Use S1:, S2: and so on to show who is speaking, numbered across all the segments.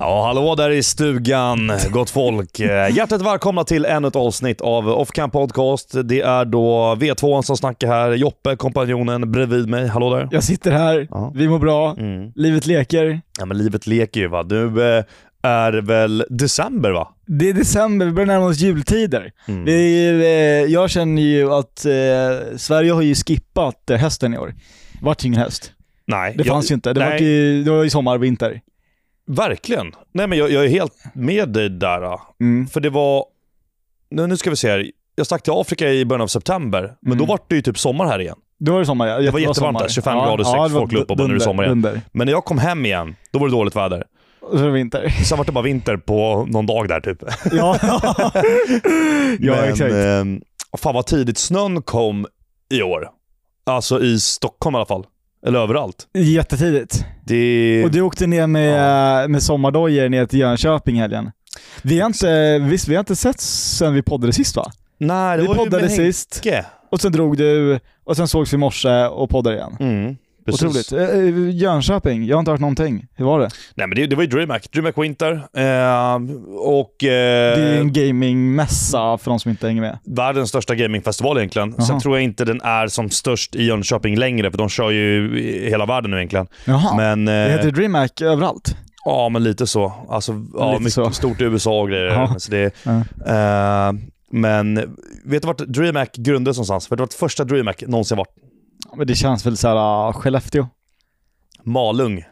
S1: Ja, hallå där i stugan, gott folk. Eh, Hjärtligt välkomna till ännu ett avsnitt av Off Camp Podcast. Det är då V2 som snackar här, Joppe, kompanjonen bredvid mig. Hallå där.
S2: Jag sitter här,
S1: Ja.
S2: vi mår bra,
S1: Mm.
S2: livet leker.
S1: Ja, men livet leker ju va. Nu eh, är väl december va?
S2: Det är december, vi börjar närma oss jultider.
S1: Mm.
S2: Vi, eh, jag känner ju att eh, Sverige har ju skippat eh, hösten i år. Det vart ingen höst.
S1: Nej,
S2: Det fanns ju inte. Det,
S1: nej.
S2: vart ju, det var ju sommar, vinter.
S1: Verkligen. Nej, men jag, jag är helt med dig där. eh.
S2: Mm.
S1: För det var... Nu, nu ska vi se här. Jag stack till Afrika i början av september, men
S2: Mm.
S1: då var det ju typ sommar här igen.
S2: Då var det sommar ja.
S1: Det var jättevarmt där, 25 grader, sex,
S2: det var
S1: folk låg upp och bara, nu är det sommar igen.
S2: Dunder.
S1: Men när jag kom hem igen, då var det dåligt väder.
S2: Och så var det vinter.
S1: Sen var det bara vinter på någon dag där typ.
S2: ja, ja
S1: Men,
S2: exakt.
S1: ehm, fan vad tidigt snön kom i år. Alltså i Stockholm i alla fall. Eller överallt.
S2: Jättetidigt.
S1: eh, Det...
S2: Och du åkte ner med, eh, med sommardojor ner till Jönköping i helgen. Vi har inte, visst, vi har inte sett sen vi poddade sist va?
S1: Nej, det
S2: Vi
S1: var ju
S2: poddade
S1: med
S2: sist,
S1: Henke.
S2: och sen drog du, och sen sågs vi i morse och poddade igen.
S1: Mm, precis.
S2: Otroligt. Eh, eh, Jönköping, jag har inte hört någonting. Hur var det?
S1: Nej men det, det var ju DreamHack. DreamHack Winter. Ehm, och eh,
S2: Det är ju en gamingmässa för de som inte hänger med.
S1: världens största gamingfestival egentligen. Sen
S2: Jaha.
S1: tror jag inte den är som störst i Jönköping längre, för de kör ju i hela världen nu egentligen.
S2: Jaha.
S1: Men,
S2: det
S1: eh,
S2: heter DreamHack överallt.
S1: Ja, men lite så. Alltså, ja,
S2: Lite
S1: mycket
S2: så.
S1: stort i USA och grejer.
S2: Ja.
S1: Så det,
S2: Ja.
S1: eh, men vet du vart DreamHack grundades någonstans? Vet du vart första DreamHack någonsin varit?
S2: Men det känns väl såhär, uh, Skellefteå?
S1: Malung.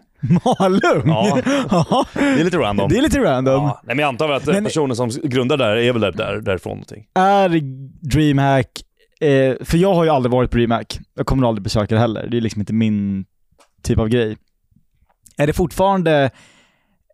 S2: Malung?
S1: Ja.
S2: Ja.
S1: Det är lite random.
S2: det är lite random.
S1: ja. Nej, men jag antar väl att
S2: Men-
S1: personen som grundar där är väl där, där, därifrån någonting.
S2: Är DreamHack, eh, för jag har ju aldrig varit på DreamHack. Jag kommer aldrig besöka det heller. Det är liksom inte min typ av grej. Är det fortfarande,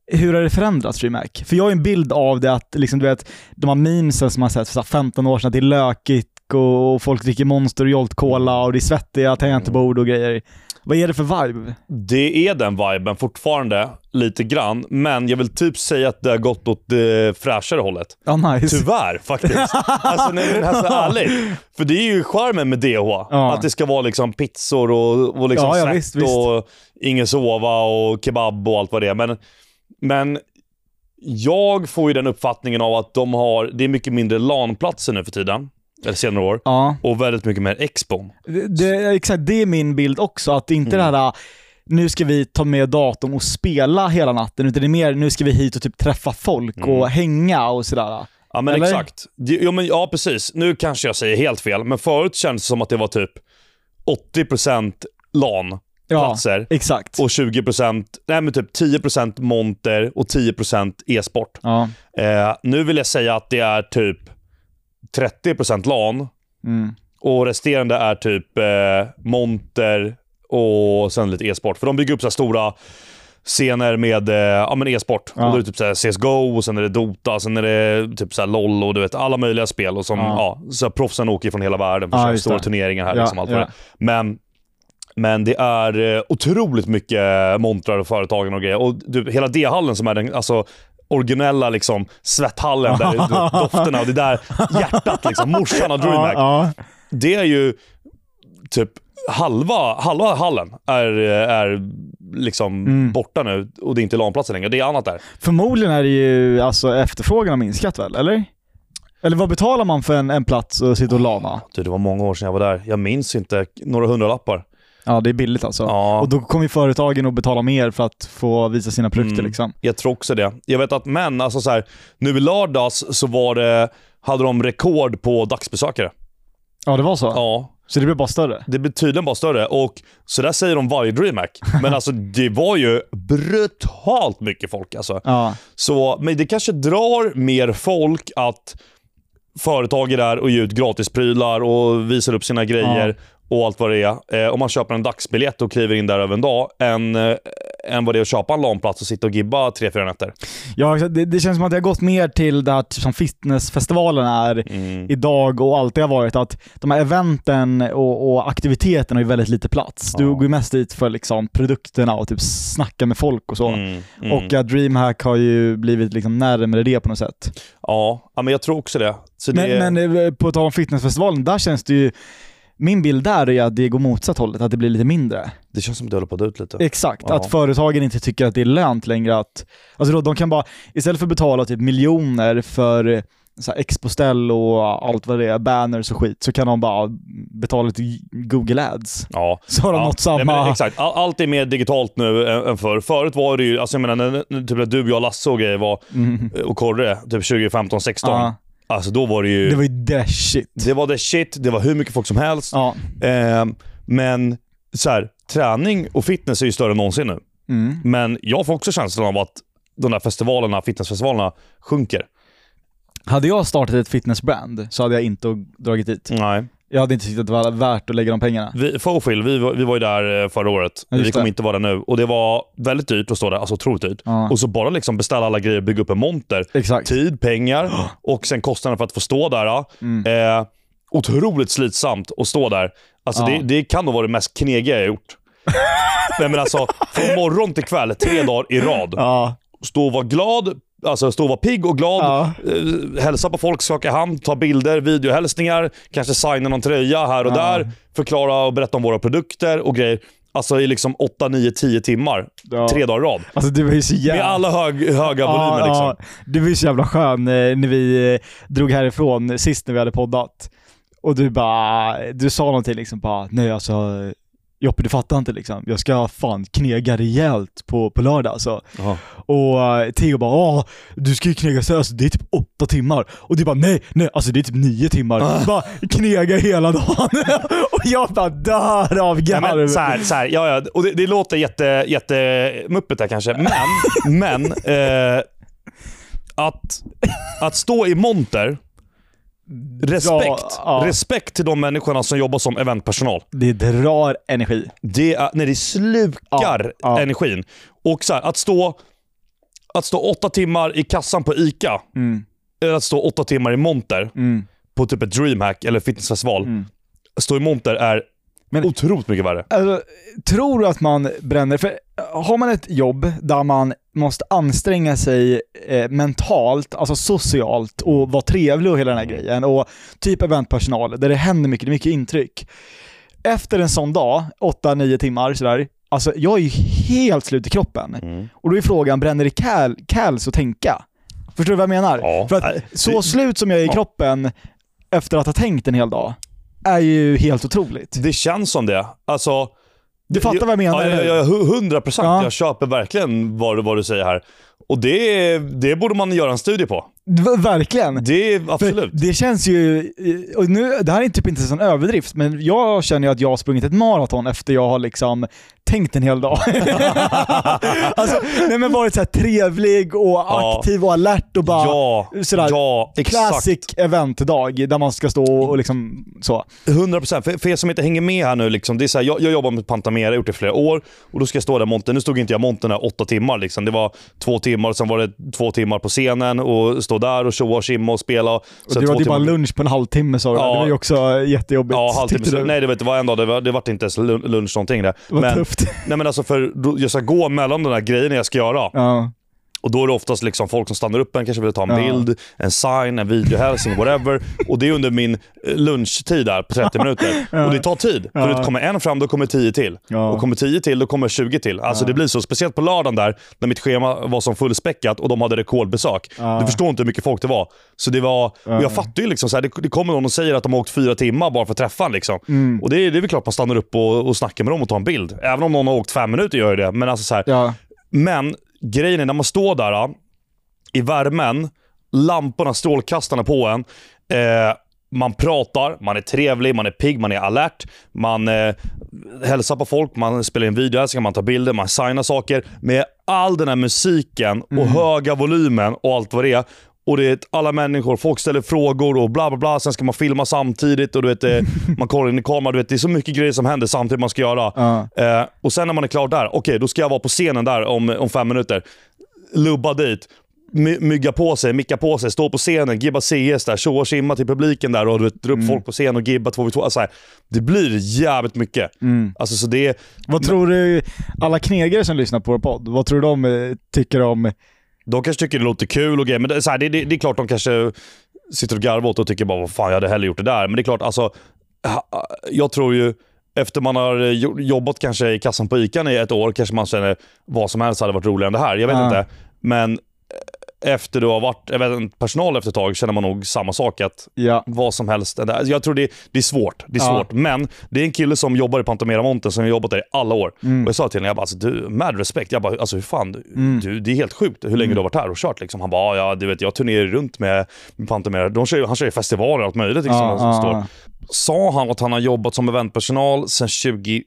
S2: hur har det förändrats DreamHack? För jag har ju en bild av det att, liksom, du vet, de här memesen som man sett för så här 15 år sedan, att det är lökigt och och folk dricker Monster och Jolt Cola och det är svettiga tangentbord och grejer. Vad är det för vibe?
S1: Det är den viben fortfarande, lite grann. Men jag vill typ säga att det har gått åt det fräschare hållet.
S2: Ja, nice.
S1: Tyvärr faktiskt. Alltså, nej, men alltså ärligt. För det är ju charmen med DH.
S2: Ja.
S1: Att det ska vara liksom pizzor och, och liksom
S2: Ja, ja,
S1: snett
S2: visst, visst.
S1: och ingen sova och kebab och allt vad det är. Men, men jag får ju den uppfattningen av att de har, det är mycket mindre LAN-platser nu för tiden. Eller senare år.
S2: Ja.
S1: Och väldigt mycket mer expon.
S2: Det, det, exakt, det är min bild också. Att det inte är det här nu ska vi ta med datorn och spela hela natten, utan det är mer nu ska vi hit och typ träffa folk och hänga och sådär.
S1: Ja, men
S2: Eller?
S1: exakt. Det- Ja, men, ja, precis. Nu kanske jag säger helt fel, men förut kändes det som att det var typ 80%
S2: Ja,
S1: LAN-platser.
S2: exakt.
S1: och 20%, nej men typ 10% monter och 10% e-sport.
S2: ja.
S1: Eh, nu vill jag säga att det är typ 30% LAN
S2: Mm.
S1: och resterande är typ eh, monter och sen lite e-sport. För de bygger upp så här stora scener med eh, ja, men e-sport.
S2: Ja.
S1: Och då är det typ så här CSGO, och sen är det Dota, sen är det typ så här LOL och du vet alla möjliga spel. Och som, ja.
S2: Ja.
S1: så här, proffsen åker från hela världen för
S2: Ja,
S1: att köra
S2: just
S1: stora
S2: det.
S1: turneringar här.
S2: Ja,
S1: liksom, allt vad
S2: ja.
S1: det. är. Men, men det är eh, otroligt mycket montrar och företagen och grejer. Och du, hela D-hallen som är den alltså, originella liksom, svetthallen där du vet, dofterna och det där hjärtat. Liksom, morsan av DreamHack
S2: Ja, ja.
S1: det är ju typ halva, halva hallen är, är liksom borta nu och det är inte LAN-platser längre. Det är annat där.
S2: Förmodligen är det ju, alltså efterfrågan har minskat väl, eller? Eller vad betalar man för en, en plats och sitta och lana?
S1: Du, det var många år sedan jag var där. Jag minns inte. Några hundralappar.
S2: Ja, det är billigt alltså.
S1: Ja.
S2: Och då kommer ju företagen att betala mer för att få visa sina produkter liksom.
S1: Jag tror också det. Jag vet att, men alltså så här, nu i lördags så var det, hade de rekord på dagsbesökare.
S2: Ja, det var så.
S1: Ja.
S2: Så det blir bara större.
S1: Det blir tydligen bara större och så där säger de varje DreamHack. Men alltså det var ju brutalt mycket folk alltså.
S2: Ja.
S1: Så, men det kanske drar mer folk att företag är där och ger ut gratisprylar och visar upp sina grejer och allt vad det är. Eh, om man köper en dagsbiljett och kliver in där över en dag, än, eh, än vad det är att köpa en LAN-plats och sitta och gibba tre, fyra nätter.
S2: Ja, exakt. det, det känns som att det har gått mer till det här typ som fitnessfestivalen är
S1: Mm.
S2: idag och alltid har varit. Att de här eventen och, och aktiviteterna har ju väldigt lite plats. Du
S1: Ja.
S2: går ju mest dit för liksom produkterna och typ snacka med folk och så.
S1: Mm, mm.
S2: Och eh, att DreamHack har ju blivit liksom närmare det på något sätt.
S1: Ja, ja, men jag tror också det. Så det
S2: Men, men eh, på tal om fitnessfestivalen, där känns det ju Min bild där är att det går motsatt hållet, att det blir lite mindre.
S1: Det känns som att det håller på att dö ut lite.
S2: Exakt,
S1: Ja.
S2: att företagen inte tycker att det är lönt längre att... Alltså då, de kan bara, istället för att betala typ miljoner för eh, så här expoställ och allt vad det är, banners och skit, så kan de bara betala till Google Ads.
S1: Ja.
S2: Så har de
S1: Ja,
S2: nått
S1: nej, men
S2: samma...
S1: exakt. All- Allt är mer digitalt nu än än förr. Förut var det ju, alltså jag menar, när, när, typ när du, jag, Lasse och grejer var,
S2: Mm.
S1: och Korre, typ 2015, 16
S2: Ja,
S1: Alltså då var det ju,
S2: det var ju the shit.
S1: det var the shit, det var hur mycket folk som helst.
S2: Ja.
S1: Ehm, men så här, träning och fitness är ju större än någonsin nu.
S2: Mm.
S1: Men jag får också känslan av att de där festivalerna, fitnessfestivalerna, sjunker.
S2: Hade jag startat ett fitnessbrand så hade jag inte dragit dit.
S1: Nej.
S2: Jag hade inte tyckt att det var värt att lägga de pengarna.
S1: Vi, Fofil, vi, var- vi var ju där eh, förra året.
S2: Ja, just
S1: vi kommer
S2: det.
S1: inte vara där nu. Och det var väldigt dyrt att stå där, alltså otroligt dyrt.
S2: Ja,
S1: Och så bara liksom beställa alla grejer, bygga upp en monter.
S2: exakt.
S1: Tid, pengar och sen kostnaden för att få stå där. ja.
S2: Mm.
S1: Eh, otroligt slitsamt att stå där. Alltså
S2: Ja.
S1: det, det kan nog vara det mest knegiga jag gjort. Nej men alltså, från morgon till kväll, tre dagar i rad.
S2: Ja,
S1: Stå och vara glad, alltså stå och vara pigg och glad.
S2: ja.
S1: Eh, hälsa på folk, skaka hand, ta bilder, videohälsningar, kanske signa någon tröja här och
S2: Ja.
S1: där. Förklara och berätta om våra produkter och grejer. Alltså i liksom 8, 9, 10 timmar.
S2: ja.
S1: Tre dagar i rad.
S2: Alltså du var ju så
S1: Med
S2: jävla...
S1: alla hög, höga volymer liksom.
S2: Du var ju så jävla skön eh, när vi eh, drog härifrån eh, sist när vi hade poddat. Och du bara, du sa någonting liksom bara, nej alltså eh, Joppe du fattar inte liksom. Jag ska fan knega rejält på, på lördag alltså.
S1: Ja.
S2: Och eh, Theo bara Åh, du ska ju knega så alltså, det är typ åtta timmar. Och du bara nej, nej, alltså det är typ nio timmar.
S1: Ah.
S2: Bara knega hela dagen. och jag bara dör av
S1: Ja, men,
S2: garv.
S1: så här, så här, ja, ja, och det, det låter jätte, jätte muppet där kanske, men, men eh, att, att stå i monter, respekt,
S2: ja.
S1: respekt till de människorna som jobbar som eventpersonal.
S2: Det drar energi.
S1: Det är, när det slukar
S2: Ja, ja.
S1: energin. Och så här, att stå att stå åtta timmar i kassan på ICA,
S2: Mm,
S1: eller att stå åtta timmar i monter
S2: mm.
S1: på typ ett DreamHack eller fitnessfestival.
S2: Mm.
S1: Stå i monter är
S2: Men-
S1: otroligt mycket värre.
S2: Alltså, tror du att man bränner... För eh, har man ett jobb där man måste anstränga sig eh, mentalt, alltså socialt och vara trevlig och hela den
S1: Mm.
S2: här grejen och typ eventpersonal där det händer mycket, det är mycket intryck. Efter en sån dag, 8-9 timmar sådär, alltså jag är ju helt slut i kroppen.
S1: Mm.
S2: Och då är frågan, bränner det kal, kals att tänka? Förstår du vad jag menar?
S1: Ja. Äh,
S2: För att
S1: Nej,
S2: så
S1: det-
S2: slut som jag är i
S1: Ja.
S2: kroppen efter att ha tänkt en hel dag är ju helt otroligt.
S1: Det känns som det. Alltså,
S2: Du fattar vad jag menar,
S1: Ja,
S2: eller
S1: ja,
S2: hur?
S1: ja, hu- 100 procent.
S2: Ja.
S1: Jag köper verkligen vad, du- vad du säger här. Och det, det borde man göra en studie på.
S2: V- Verkligen.
S1: Det är
S2: För
S1: absolut.
S2: det känns ju, eh, och nu, det här är typ inte en överdrift, men jag känner ju att jag har sprungit ett maraton efter jag har liksom tänkt en hel dag. alltså, nej men varit så här trevlig och
S1: Ja.
S2: aktiv och alert och bara
S1: ja,
S2: sådär,
S1: ja, exakt. Mm.
S2: classic eventdag där man ska stå och liksom så.
S1: 100 procent. För, för er som inte hänger med här nu, liksom, det är så här, jag, jag jobbar med Pantamera, jag har gjort det i flera år. Och då ska jag stå där i montern. Nu stod inte jag i montern här åtta timmar. Liksom. Det var två timmar, och sen var det två timmar på scenen och stå där och tjoa och tjimma och spela. Och
S2: Och du hade ju bara
S1: timmar...
S2: lunch på en halvtimme sa du,
S1: Ja.
S2: det var ju också jättejobbigt.
S1: Ja,
S2: tyckte
S1: halvtimme.
S2: du.
S1: Nej, det var, det var en dag. Det var, det var inte ens lun- lunch någonting där.
S2: det var
S1: Men-
S2: tufft.
S1: Nej men alltså för då- jag ska gå mellan de där grejerna jag ska göra.
S2: Ja.
S1: Och då är det oftast liksom folk som stannar upp en, kanske vill ta en
S2: Ja.
S1: bild, en sign, en videohälsning, whatever. Och det är under min eh, lunchtid där på 30 minuter. Och det tar tid. För
S2: Ja.
S1: det kommer en fram, då kommer 10 till.
S2: Ja.
S1: Och kommer 10 till, då kommer 20 till. Alltså det blir så. Speciellt på lördagen där, när mitt schema var som fullspäckat och de hade rekordbesök.
S2: Ja.
S1: Du förstår inte hur mycket folk det var. Så det var... Och jag fattar ju liksom, så här, det, det kommer någon och säger att de har åkt fyra timmar bara för att träffa en, liksom.
S2: Mm.
S1: Och det, är- det är väl klart man stannar upp och, och snackar med dem och tar en bild. Även om någon har åkt fem minuter gör ju det. Men alltså så här,
S2: Ja.
S1: men grejen är när man står där ja, i värmen, lamporna, strålkastarna på en. Eh, man pratar, man är trevlig, man är pigg, man är alert. Man eh, hälsar på folk, man spelar in videohälsningar, man tar bilder, man signar saker. Med all den här musiken och höga volymen och allt vad det är. Och det är ett- alla människor, folk ställer frågor och bla bla bla. Sen ska man filma samtidigt och du vet, eh, man kollar in i kameran. Du vet, det är så mycket grejer som händer samtidigt man ska göra.
S2: Ja.
S1: Eh, och sen när man är klar där, okej då ska jag vara på scenen där om, om fem minuter. Lubba dit, my, mygga på sig, micka på sig, stå på scenen, gibba CS där, tjoa och tjimma till publiken där och du vet, dra upp folk på scen och gibba 2v2. Alltså, här, det blir jävligt mycket. Alltså, så det,
S2: Vad tror du alla knegare som lyssnar på vår podd, vad tror du de eh, tycker om
S1: de kanske tycker det låter kul och grejer, men det, så här, det, det, det är klart de kanske sitter och garvar åt och tycker bara vad fan jag hade hellre gjort det där. Men det är klart, alltså ha- jag tror ju, efter man har jo- jobbat kanske i kassan på ICA i ett år, kanske man känner vad som helst hade varit roligare än det här. Jag vet
S2: Ja.
S1: inte. Men eh, efter du har varit jag vet, inte, personal efter ett tag känner man nog samma sak. Att
S2: Ja.
S1: vad som helst. än det här. Jag tror det, det är svårt. Det är
S2: Ja.
S1: svårt. Men det är en kille som jobbar i Pantomera Monten som har jobbat där i alla år.
S2: Mm.
S1: Och jag sa till honom, jag bara, alltså, du, mad respect. Jag bara, alltså hur fan, du,
S2: Mm.
S1: du, det är helt sjukt hur länge du har varit här och kört. Liksom. Han bara, "Ja, ja du vet, jag turnerar ju runt med, med Pantomera. De kör, ju- han kör ju festivaler och allt möjligt. Liksom,
S2: Ja,
S1: som
S2: ja,
S1: står.
S2: ja.
S1: Sa han att han har jobbat som eventpersonal sedan 2017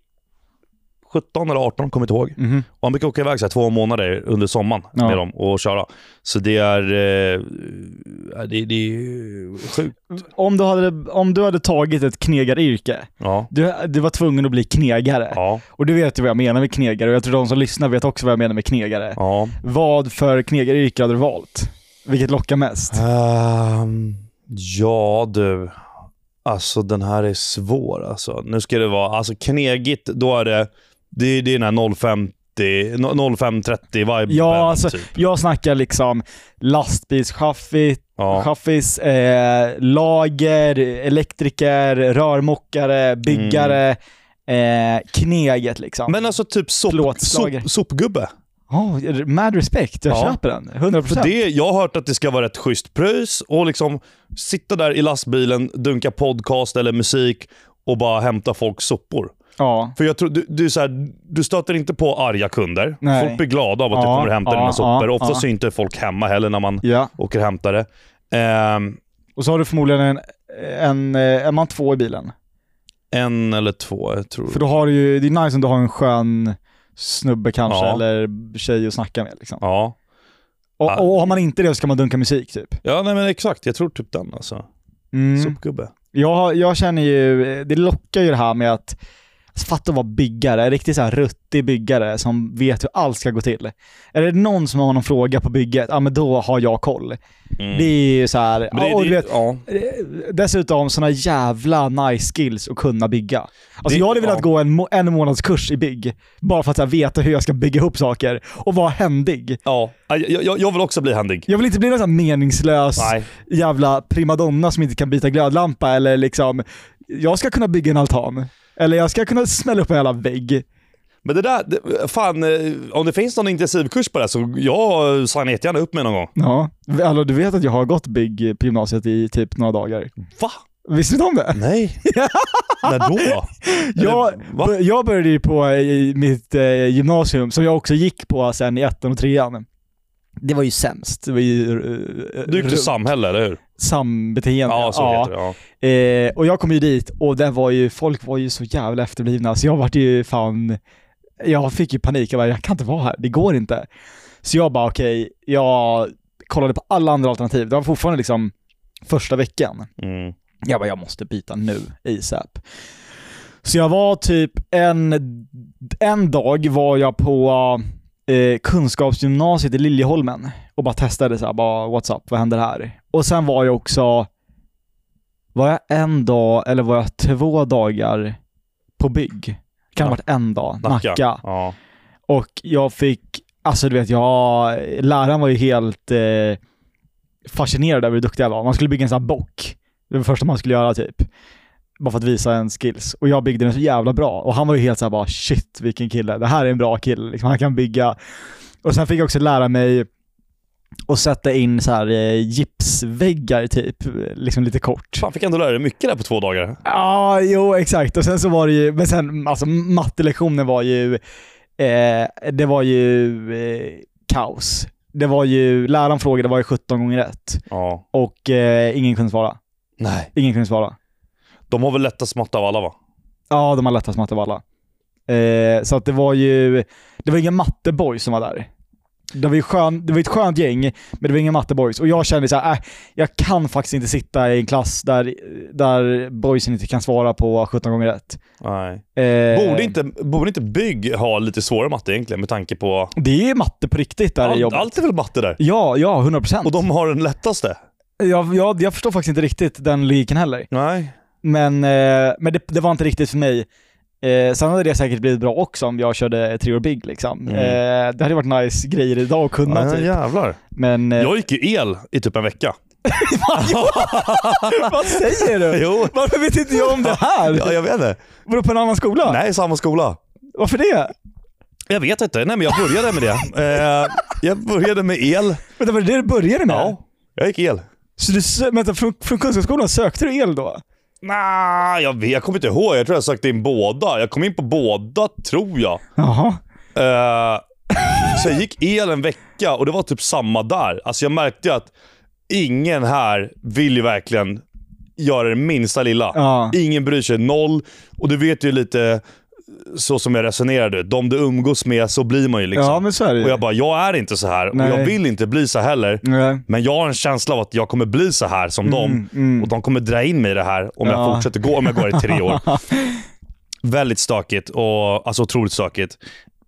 S1: eller 18, kommer inte ihåg.
S2: Mhm.
S1: Och han brukar åka iväg så här, två månader under sommaren
S2: Ja.
S1: med dem och köra. Så det är, eh, det, det är sjukt.
S2: Om, du hade, om du hade tagit ett knegaryrke,
S1: Ja.
S2: du, du var tvungen att bli knegare.
S1: Ja,
S2: Och du vet ju vad jag menar med knegare och jag tror de som lyssnar vet också vad jag menar med knegare.
S1: ja.
S2: Vad för knegaryrke hade du valt? Vilket lockar mest?
S1: Ehm, ja du. Alltså den här är svår alltså. Nu ska det vara, alltså knegigt, då är det, det, är- det är den här 050, no- 0530 viben
S2: Ja, alltså,
S1: typ.
S2: Jag snackar liksom lastbilschaffis,
S1: Ja.
S2: chaffis, eh, lager, elektriker, rörmokare, byggare, eh, kneget liksom.
S1: Mm. Men alltså typ sop, sop,
S2: Plåtslager.
S1: sopgubbe.
S2: Oh, mad respect, jag
S1: Ja.
S2: köper den. 100%.
S1: För det, jag har hört att det ska vara ett schysst pröjs och liksom sitta där i lastbilen, dunka podcast eller musik och bara hämta folks sopor.
S2: Ja.
S1: För jag tror, du, du, är så här, du stöter inte på arga kunder.
S2: Nej.
S1: Folk blir glada av att
S2: Ja,
S1: du kommer och hämtar
S2: ja,
S1: dina sopor.
S2: ja,
S1: Oftast
S2: ja.
S1: är inte folk hemma heller när man
S2: ja.
S1: åker och hämtar det. Ehm,
S2: Och så har du förmodligen en, en, eh, är man två i bilen?
S1: en eller två, jag tror
S2: För då har du ju, det är nice om du har en skön snubbe kanske,
S1: Ja.
S2: eller tjej att snacka med liksom.
S1: Ja.
S2: Och,
S1: Ja.
S2: och har man inte det så kan man dunka musik typ.
S1: ja, nej men exakt. Jag tror typ den alltså.
S2: Mm.
S1: Sopgubbe.
S2: Jag, har- jag känner ju, eh, det lockar ju det här med att alltså, Fatta att vara byggare, en riktigt så här ruttig byggare som vet hur allt ska gå till. Är det någon som har någon fråga på bygget, ja men då har jag koll.
S1: Mm.
S2: Det är ju så här,
S1: Men det-
S2: ja, och du
S1: det-
S2: vet,
S1: ja.
S2: eh, dessutom såna jävla nice skills att kunna bygga. Alltså
S1: Det-
S2: jag hade velat
S1: ja.
S2: gå en, må- en månads kurs i bygg, bara för att så här, veta hur jag ska bygga ihop saker och vara händig.
S1: Ja, jag, jag, jag vill också bli händig.
S2: Jag vill inte bli någon sån här meningslös
S1: Nej.
S2: jävla primadonna som inte kan byta glödlampa eller liksom, jag ska kunna bygga en altan. Eller jag ska kunna smälla upp en jävla vägg.
S1: Men det där, det, fan eh, om det finns någon intensivkurs på det här så jag signar jättegärna upp mig någon gång.
S2: Ja. Alltså, du vet att jag har gått bygg på gymnasiet i typ några dagar.
S1: Va?
S2: Visste du inte om det?
S1: Nej. När då?
S2: Jag,
S1: Eller, va?
S2: bör- jag började ju på eh, i mitt eh, gymnasium, som jag också gick på sen i ettan och trean. Det var ju sämst. Det var ju... eh,
S1: Du gick till
S2: ru-
S1: samhälle, eller hur?
S2: sambeteende.
S1: Ja, så heter det. Ja.
S2: Eh, och jag kom ju dit och den var ju, folk var ju så jävla efterblivna så jag vart ju fan, jag fick ju panik. Jag bara, jag kan inte vara här, det går inte. Så jag bara okej, jag kollade på alla andra alternativ. Det var fortfarande liksom första veckan.
S1: Mm.
S2: Jag bara, jag måste byta nu, ASAP. Så jag var typ en, en dag var jag på eh, kunskapsgymnasiet i Liljeholmen och bara testade så här, bara what's up, vad händer här? Och sen var jag också, var jag en dag eller var jag två dagar på bygg? Kan ha varit en dag,
S1: Nacka.
S2: Nacka.
S1: Ja.
S2: Och jag fick, alltså du vet, jag, läraren var ju helt eh, fascinerad över hur duktig jag var. Man skulle bygga en sån här bock. Det var det första man skulle göra typ. Bara för att visa en skills. Och jag byggde den så jävla bra. Och han var ju helt såhär bara shit vilken kille. Det här är en bra kille. Liksom, han kan bygga. Och sen fick jag också lära mig att sätta in så här eh, gipsväggar typ. Liksom lite kort.
S1: Fan, fick ändå lära dig mycket där på två dagar.
S2: Ja, jo exakt. Och sen så var det ju, men sen alltså mattelektionen var ju, eh, det var ju eh, kaos. Det var ju, läraren frågade var ju 17 gånger rätt
S1: Ja.
S2: och eh, ingen kunde svara.
S1: Nej.
S2: Ingen kunde svara.
S1: De har väl lättast matte av alla va?
S2: Ja, de har lättast matte av alla. Eh, så att det var ju, det var inga matteboys som var där. Det var ju skön, det var ett skönt gäng, men det var inga matteboys. Och jag kände så här, äh, jag kan faktiskt inte sitta i en klass där, där boysen inte kan svara på 17 gånger rätt.
S1: Nej.
S2: Eh,
S1: Borde inte, borde inte bygg ha lite svårare matte egentligen med tanke på...
S2: Det är matte på riktigt där i
S1: All,
S2: jobbet.
S1: allt är väl matte där?
S2: Ja, ja, 100 procent.
S1: Och de har den lättaste?
S2: Jag, jag, jag förstår faktiskt inte riktigt den logiken heller.
S1: Nej.
S2: Men, eh, men det, det var inte riktigt för mig. Eh, sen hade det säkert blivit bra också om jag körde tre år big liksom.
S1: Mm.
S2: Eh, det hade varit nice grejer idag att kunna
S1: Ja,
S2: typ.
S1: jävlar.
S2: Men eh,
S1: Jag gick ju el i typ en vecka.
S2: Vad säger du?
S1: jo.
S2: Varför vet inte jag om det
S1: Ja,
S2: här?
S1: jag vet inte.
S2: Vadå, på en annan skola?
S1: Nej, samma skola.
S2: Varför det?
S1: Jag vet inte. Nej, men jag började med det. Eh, jag började med el.
S2: Vänta, var det det du började med?
S1: Ja, jag gick el.
S2: Så du, sö- vänta, från, från Kunskapsskolan sökte du el då?
S1: Nej, jag, vet, jag kommer inte ihåg. Jag tror jag sökte in båda. Jag kom in på båda, tror jag.
S2: Jaha.
S1: Eh, så jag gick el en vecka och det var typ samma där. Alltså jag märkte att ingen här vill ju verkligen göra det minsta lilla.
S2: Ja.
S1: Ingen bryr sig. Noll. Och du vet ju lite så som jag resonerade. De du umgås med, så blir man ju liksom.
S2: Ja, men så är det ju.
S1: Och jag bara, jag är inte så här
S2: Nej.
S1: och jag vill inte bli så heller.
S2: Nej.
S1: Men jag har en känsla av att jag kommer bli så här som dem. Och de kommer dra in mig i det här om
S2: Mm, Ja.
S1: jag fortsätter gå, om jag går i tre år. Väldigt stökigt, och, alltså otroligt stökigt.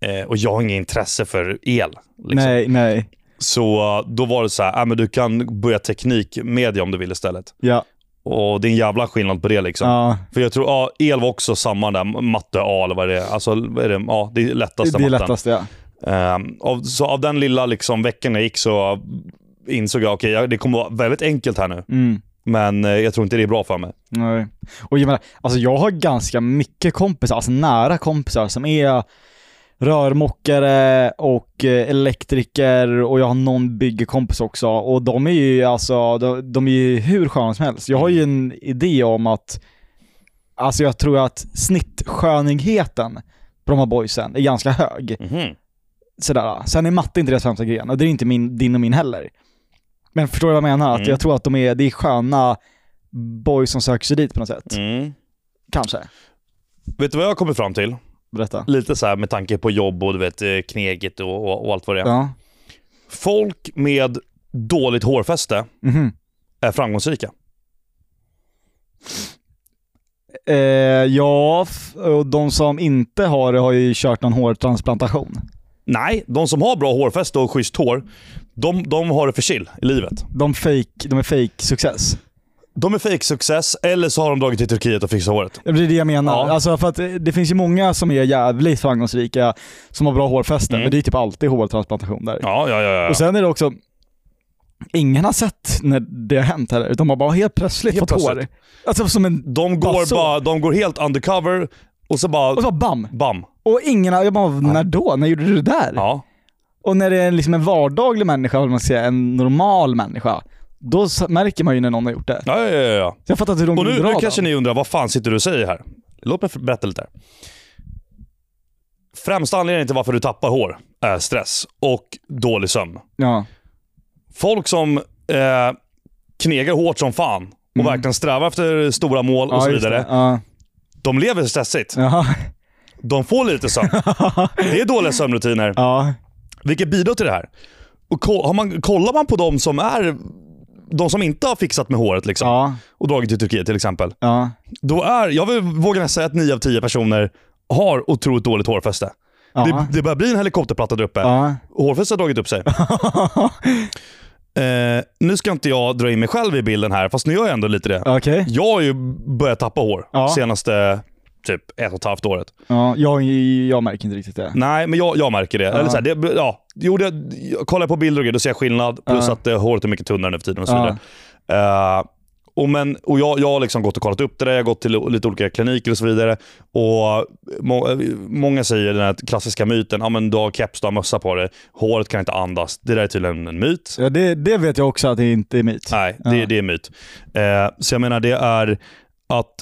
S1: Eh, och jag har inget intresse för el. Liksom.
S2: Nej, nej.
S1: Så eh, då var det så här, ah, men du kan börja teknikmedia om du vill istället.
S2: Ja.
S1: Och det är en jävla skillnad på det liksom.
S2: ja.
S1: För jag tror, ja, el var också samma där, matte A eller vad det är. Alltså, vad är det? Ja, det är lättaste
S2: Det är
S1: matten.
S2: lättast ja.
S1: Ehm, av, så av den lilla liksom, veckan jag gick så eh, insåg jag, okej, jag- det kommer vara väldigt enkelt här nu.
S2: Mm.
S1: Men eh, jag tror inte det är bra för mig.
S2: Nej. Och jag menar, alltså jag har ganska mycket kompisar, alltså nära kompisar som är rörmokare och eh, elektriker och jag har någon byggekompis också och de är ju alltså, de, de är ju hur sköna som helst. Jag har ju en idé om att, alltså jag tror att snittskönheten på de här boysen är ganska hög.
S1: Mhm.
S2: Sådär. Sen är matte inte deras främsta gren och det är inte min, din och min heller. Men förstår du vad jag menar? Att
S1: Mm.
S2: jag tror att de är, det är sköna boys som söker sig dit på något sätt.
S1: Mm.
S2: Kanske.
S1: Vet du vad jag har kommit fram till?
S2: Berätta.
S1: Lite så här med tanke på jobb och du vet, eh, kneget och, och, och allt vad det är.
S2: Ja.
S1: Folk med dåligt hårfäste
S2: Mhm.
S1: är framgångsrika.
S2: Eh, ja, f- och de som inte har det har ju kört någon hårtransplantation.
S1: Nej, de som har bra hårfäste och schysst hår, de, de har det för chill i livet.
S2: De, fake, de är fake success.
S1: De är fake success eller så har de dragit till Turkiet och fixat håret.
S2: Det är det jag menar.
S1: Ja.
S2: Alltså för att eh, det finns ju många som är jävligt framgångsrika som har bra hårfästen,
S1: Mm.
S2: men det är typ alltid hårtransplantation där.
S1: Ja, ja, ja. ja.
S2: Och sen är det också, ingen har sett när det har hänt heller, utan man bara helt plötsligt
S1: Helt
S2: fått
S1: plötsligt.
S2: hår. Alltså som en...
S1: de,
S2: bara
S1: går
S2: så.
S1: bara, de går helt undercover och så bara
S2: Och så bara bam!
S1: bam.
S2: Och ingen har... Jag bara, när då? När gjorde du det där?
S1: Ja.
S2: Och när det är liksom en vardaglig människa, eller man ska säga, en normal människa, då s- märker man ju när någon har gjort det.
S1: Ja, ja, ja, ja.
S2: Så jag fattar inte hur de
S1: Och
S2: går
S1: nu,
S2: under
S1: nu
S2: radarn.
S1: kanske ni undrar, vad fan sitter du och säger här? Låt mig berätta lite. här. Främsta anledningen till varför du tappar hår är stress och dålig sömn.
S2: Ja.
S1: Folk som eh, knegar hårt som fan och
S2: Mm.
S1: verkligen strävar efter stora mål och
S2: ja,
S1: så
S2: just
S1: vidare.
S2: det. Ja.
S1: De lever stressigt.
S2: Jaha.
S1: De får lite sömn. det är dåliga sömnrutiner.
S2: Ja.
S1: Vilket bidrar till det här. Och ko- har man, kollar man på de som är de som inte har fixat med håret liksom,
S2: Ja.
S1: och dragit till Turkiet till exempel.
S2: Ja.
S1: Då är, jag vill, vågar nästan säga att 9 av 10 personer har otroligt dåligt hårfäste.
S2: Ja.
S1: Det, det börjar bli en helikopterplatta där uppe.
S2: Ja.
S1: Hårfästet har dragit upp sig. eh, nu ska inte jag dra in mig själv i bilden här, fast nu gör jag ändå lite det.
S2: Okej.
S1: Jag har ju börjat tappa hår
S2: Ja.
S1: senaste typ ett och ett halvt året.
S2: Ja, jag, jag märker inte riktigt det.
S1: Nej, men jag, jag märker det. Eller så här, det ja. jo, det, jag kollar på bilder och grejer, då ser jag skillnad. Plus
S2: Ja.
S1: att eh, håret är mycket tunnare nu för tiden och så
S2: Ja.
S1: vidare. Eh, och men, och jag, jag har liksom gått och kollat upp det där, jag har gått till lite olika kliniker och så vidare. Och må, eh, Många säger den här klassiska myten, ah, men du har keps, du har mössa på dig, håret kan inte andas. Det där är tydligen en myt.
S2: Ja, det, det vet jag också att det inte är mitt.
S1: Nej, det,
S2: Ja.
S1: det är en myt. Eh, så jag menar, det är att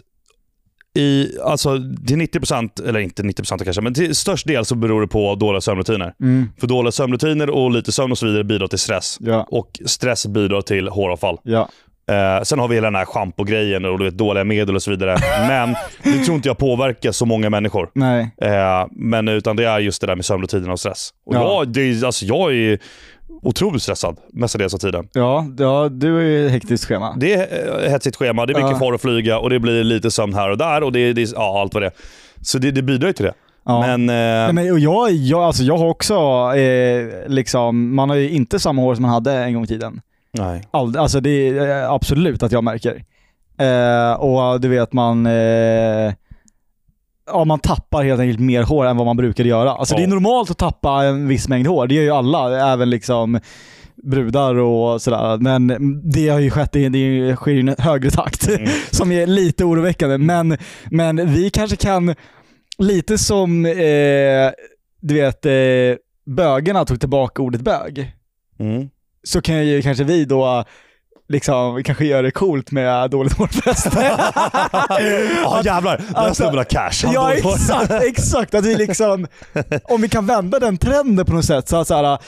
S1: i, alltså, till 90%, eller inte 90% kanske, men till störst del så beror det på dåliga sömnrutiner.
S2: Mm.
S1: För dåliga sömnrutiner och lite sömn och så vidare bidrar till stress.
S2: Ja.
S1: Och stress bidrar till håravfall.
S2: Ja.
S1: Eh, sen har vi hela den här schampo-grejen och du vet, dåliga medel och så vidare. Men det tror inte jag påverkar så många människor.
S2: Nej.
S1: Eh, men utan det är just det där med sömnrutinerna och stress. Och
S2: Ja.
S1: jag, det, är- alltså, jag är otroligt stressad mestadels av tiden.
S2: Ja, ja, du är ju hektiskt schema.
S1: Det är eh, hetsigt schema, det är mycket
S2: Ja.
S1: far och flyga och det blir lite sömn här och där och det, det är ja, allt vad det är. Så det, det bidrar ju till det.
S2: Ja.
S1: Men, eh,
S2: Nej, men, och jag, jag, alltså, jag har också, eh, liksom, man har ju inte samma hår som man hade en gång i tiden.
S1: nej.
S2: Ald- alltså det är eh, absolut att jag märker. Eh, och du vet man, eh, ja, man tappar helt enkelt mer hår än vad man brukade göra. Alltså
S1: Ja.
S2: det är normalt att tappa en viss mängd hår, det gör ju alla. Även liksom brudar och sådär. Men det har ju skett, det, det sker i en högre takt
S1: Mm.
S2: som är lite oroväckande. Men, men vi kanske kan, lite som eh, du vet, eh, bögarna tog tillbaka ordet bög,
S1: Mm.
S2: så kan ju kanske vi då liksom kanske göra det coolt med dåligt hårfäste.
S1: Ja jävlar, den här
S2: alltså-
S1: snubben har cash. Han
S2: Ja
S1: bor på-
S2: exakt, exakt. Att vi liksom, om vi kan vända den trenden på något sätt så, att så här,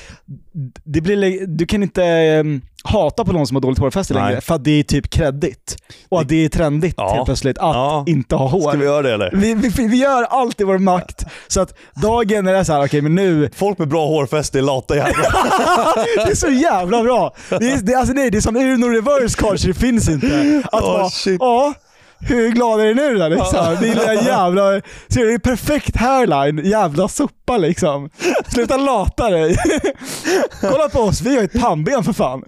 S2: det blir, li- du kan inte ehm, hata på någon som har dåligt hårfäste
S1: Nej.
S2: längre för att det är typ kreddigt. Och att det är trendigt
S1: Ja.
S2: helt plötsligt att
S1: Ja.
S2: inte ha hår.
S1: Ska vi göra det eller?
S2: Vi, vi, vi gör allt i vår makt så att dagen när det är så här, okej men nu,
S1: Folk med bra hårfäste är lata jävlar.
S2: det är så jävla bra. Det är, det, alltså nej, det är som Uno reverse card så det finns inte. Att
S1: Oh,
S2: vara,
S1: shit.
S2: ja, hur glad är du nu då? Liksom? Det är lilla jävla, ser du, det är perfekt hairline, jävla sopa liksom. Sluta lata dig. Kolla på oss, vi har ju ett pannben för fan.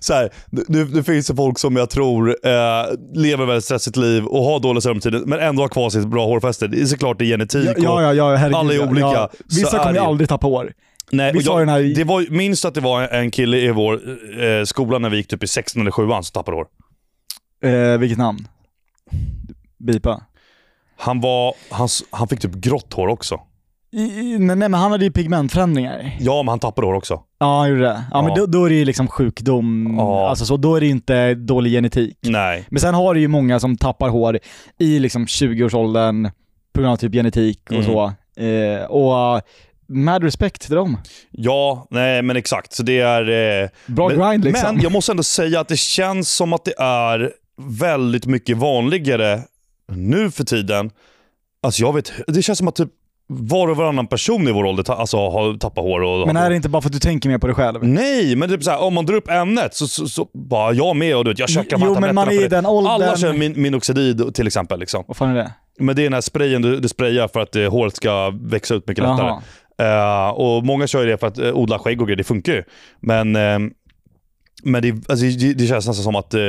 S1: Så här, nu, nu finns det folk som jag tror eh, lever väldigt stressigt liv och har dålig sömntider men ändå har kvar sitt bra hårfäste. Det är såklart det är genetik.
S2: Ja,
S1: och-
S2: ja, ja, herregud.
S1: Alla är
S2: ja,
S1: olika.
S2: Ja. Vissa
S1: Så är
S2: kommer ju
S1: det ju.
S2: aldrig tappa hår.
S1: Nej,
S2: Vi
S1: och
S2: sa ju den här i-
S1: det var, minns du att det var en kille i vår eh, skola när vi gick typ i sexan eller sjuan som tappade hår?
S2: Eh, vilket namn? Bipa.
S1: Han, var, han, s- han fick typ grått hår också.
S2: I, i- nej, nej men han hade ju pigmentförändringar.
S1: Ja, men han tappade hår också.
S2: Ja, han gjorde det. Ja,
S1: Ja.
S2: men då, då är det ju liksom sjukdom,
S1: Ja.
S2: alltså så, då är det ju inte dålig genetik.
S1: Nej.
S2: Men sen har du ju många som tappar hår i liksom 20-årsåldern på grund av typ genetik och
S1: Mm.
S2: så. Eh, och eh, mad respect till dem.
S1: Ja, nej men exakt. Så det är... Eh,
S2: Bra
S1: men,
S2: grind liksom.
S1: men jag måste ändå säga att det känns som att det är väldigt mycket vanligare nu för tiden. Alltså jag vet, det känns som att typ var och varannan person i vår ålder ta, alltså, har tappat hår. Och,
S2: Men är det inte bara för att du tänker mer på dig själv?
S1: Nej, men typ såhär, om man drar upp ämnet så, så, så bara jag med och du vet, jag käkar
S2: Jo,
S1: bara
S2: men man
S1: tabletterna
S2: är i
S1: för det.
S2: den åldern.
S1: Alla kör min, minoxidil till exempel. Liksom.
S2: Vad fan är det?
S1: Men det är den här sprayen du, du sprayar för att eh, håret ska växa ut mycket lättare.
S2: Jaha.
S1: Eh, och Många kör ju det för att eh, odla skägg och grejer, det funkar ju. Men, eh, men det, alltså, det, det känns nästan som att eh,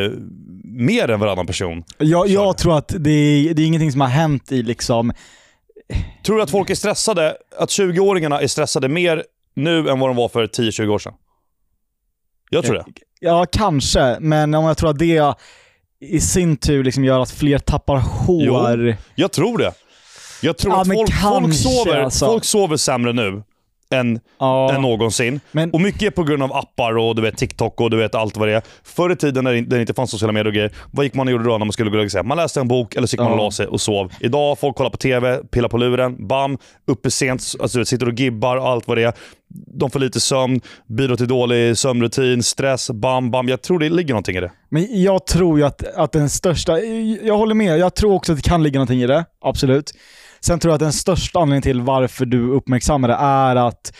S1: mer än varannan person.
S2: Jag,
S1: Kör.
S2: jag tror att det är, det är ingenting som har hänt i liksom...
S1: Tror du att folk är stressade? Att 20-åringarna är stressade mer nu än vad de var för 10-20 år sedan? Jag tror det.
S2: Ja, kanske. Men om jag tror att det i sin tur liksom gör att fler tappar hår.
S1: Jag tror det. Jag tror
S2: Ja,
S1: att
S2: men
S1: folk, folk,
S2: kanske,
S1: sover,
S2: alltså.
S1: folk sover sämre nu än,
S2: Ja.
S1: än någonsin.
S2: Men-
S1: Och mycket är på grund av appar och du vet, TikTok och du vet allt vad det är. Förr i tiden när det in- när det inte fanns sociala medier och grejer, vad gick man och gjorde då när man skulle gå och lägga sig? Man läste en bok eller så gick man och
S2: Ja.
S1: la sig och sov. Idag, folk kollar på TV, pillar på luren, bam, uppe sent, alltså, du vet, sitter och gibbar och allt vad det är. De får lite sömn, bidrar till dålig sömnrutin, stress, bam, bam. Jag tror det ligger någonting i det.
S2: Men jag tror ju att, att den största, jag håller med, jag tror också att det kan ligga någonting i det. Absolut. Sen tror jag att den största anledningen till varför du uppmärksammar det är att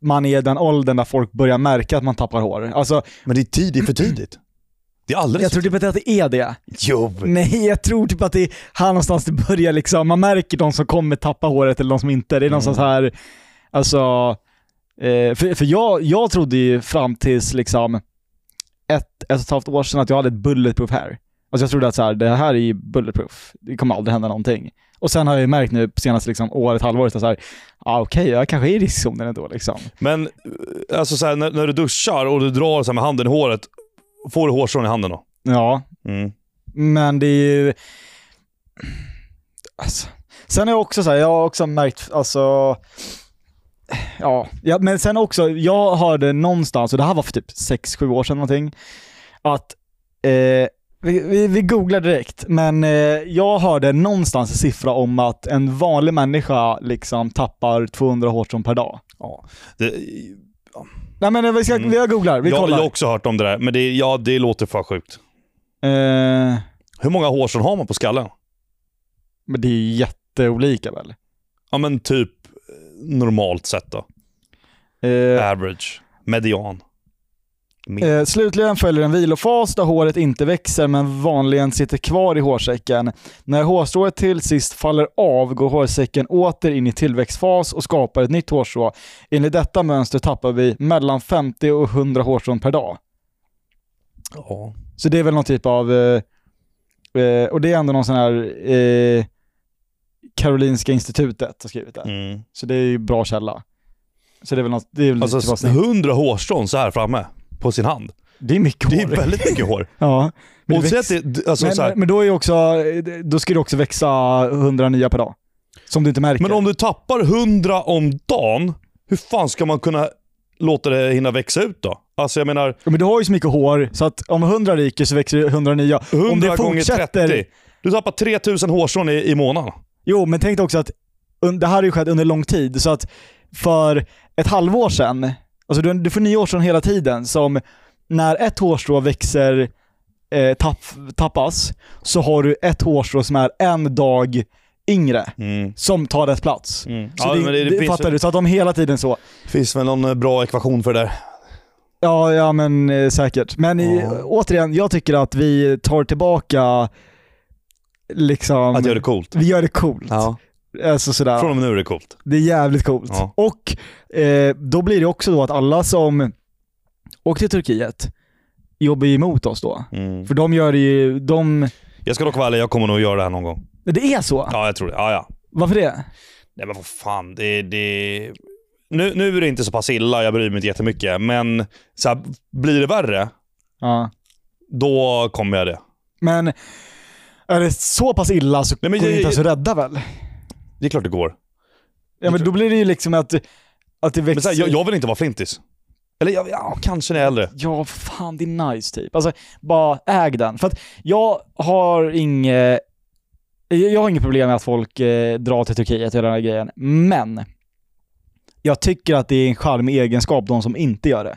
S2: man är i den åldern där folk börjar märka att man tappar hår. Alltså,
S1: Men det är, tid, det är för tidigt. Det är alldeles
S2: jag tror typ inte att det är det.
S1: Jo.
S2: Nej, jag tror typ att det är här någonstans det börjar liksom. Man märker de som kommer tappa håret eller de som inte. Det är någonstans här, alltså... Eh, för för jag, jag trodde ju fram tills liksom ett, ett och ett halvt år sedan att jag hade ett bulletproof hair. Alltså jag trodde att så här, det här är ju bulletproof. Det kommer aldrig hända någonting. Och sen har jag ju märkt nu senaste liksom, året, halvåret att så här, ah, okej, jag kanske är i riskzonen ändå liksom.
S1: Men eh, alltså så här, när, när du duschar och du drar så här med handen i håret, får du hårstrån i handen då?
S2: Ja,
S1: Mm.
S2: Men det är ju... Alltså. Sen är jag också så här, jag har också märkt, alltså... Ja, ja, men sen också, jag hörde någonstans, och det här var för typ 6-7 år sedan någonting, att... Eh, vi, vi, vi googlar direkt, men eh, jag hörde någonstans en siffra om att en vanlig människa liksom tappar 200 hårstrån per dag.
S1: Det,
S2: Nej men vi, ska,
S1: Mm.
S2: vi googlar, vi
S1: jag, jag
S2: kollar.
S1: har också hört om det där, men det, ja, det låter för sjukt.
S2: Eh,
S1: Hur många hårstrån har man på skallen?
S2: men det är ju jätteolika väl?
S1: Ja men typ eh, normalt sett då. Äh,
S2: Eh,
S1: Average. Median. Min.
S2: Eh, slutligen följer en vilofas där håret inte växer men vanligen sitter kvar i hårsäcken. När hårstrået till sist faller av går hårsäcken åter in i tillväxtfas och skapar ett nytt hårstrå. Enligt detta mönster tappar vi mellan 50 och 100 hårstrån per dag.
S1: Ja.
S2: Så det är väl någon typ av, eh, eh, och det är ändå någon sån här eh, Karolinska institutet har skrivit det.
S1: Mm.
S2: Så det är ju bra källa. Så det är väl något, det är väl typ av
S1: Alltså
S2: snitt.
S1: 100 hårstrån så här framme på sin hand.
S2: Det är mycket
S1: Det
S2: hår.
S1: är väldigt mycket hår.
S2: Ja. Men,
S1: Och
S2: det
S1: så att
S2: växer.
S1: det, alltså,
S2: men,
S1: så här,
S2: men då är ju också, då ska det också växa 100 nya per dag. Som du inte märker.
S1: men om du tappar 100 om dagen, hur fan ska man kunna låta det hinna växa ut då? Alltså jag menar,
S2: Ja, Men du har ju så mycket hår, så att om 100 ryker så växer det 100 nya. om
S1: 100
S2: det
S1: gånger 30. Du tappar 3000 hårstrån i, i månaden.
S2: Jo, men tänk dig också att un- det här har ju skett under lång tid, så att för ett halvår sedan, alltså du, du får nyårsson hela tiden, som när ett hårstrå växer, eh, tapp, tappas, så har du ett hårstrå som är en dag yngre, som tar dess plats. Så
S1: Mm. Ja,
S2: det,
S1: men
S2: det,
S1: finns,
S2: fattar du? Så att de hela tiden så.
S1: finns väl någon eh, bra ekvation för det där?
S2: Ja, ja men eh, säkert. Men i,
S1: Ja.
S2: återigen, jag tycker att vi tar tillbaka liksom...
S1: Att göra det coolt.
S2: Vi gör det coolt. Alltså sådär.
S1: Från och med nu är det coolt.
S2: Det är jävligt coolt.
S1: Ja.
S2: Och eh, då blir det också då att alla som åkte till Turkiet jobbar ju emot oss då. För de gör det ju, de...
S1: Mm. Jag ska dock vara ärlig, jag kommer nog göra det här någon gång.
S2: Det är så?
S1: Ja, jag tror det. Ja, ja.
S2: Varför det?
S1: Nej men vad fan, det... det... Nu, nu är det inte så pass illa, jag bryr mig inte jättemycket. Men så här, blir det värre,
S2: Ja.
S1: då kommer jag det.
S2: Men är det så pass illa så
S1: Nej, men
S2: går det
S1: jag-
S2: inte ens att rädda väl?
S1: Det är klart det går.
S2: Ja men då blir det ju liksom att, att det växer...
S1: Men så här, jag, jag vill inte vara flintis. Eller jag, ja, kanske när jag är äldre.
S2: Ja, fan det är nice typ. Alltså, bara äg den. För att jag har inget... Jag har inget problem med att folk eh, drar till Turkiet och hela den här grejen. Men, jag tycker att det är en charmig egenskap, de som inte gör det.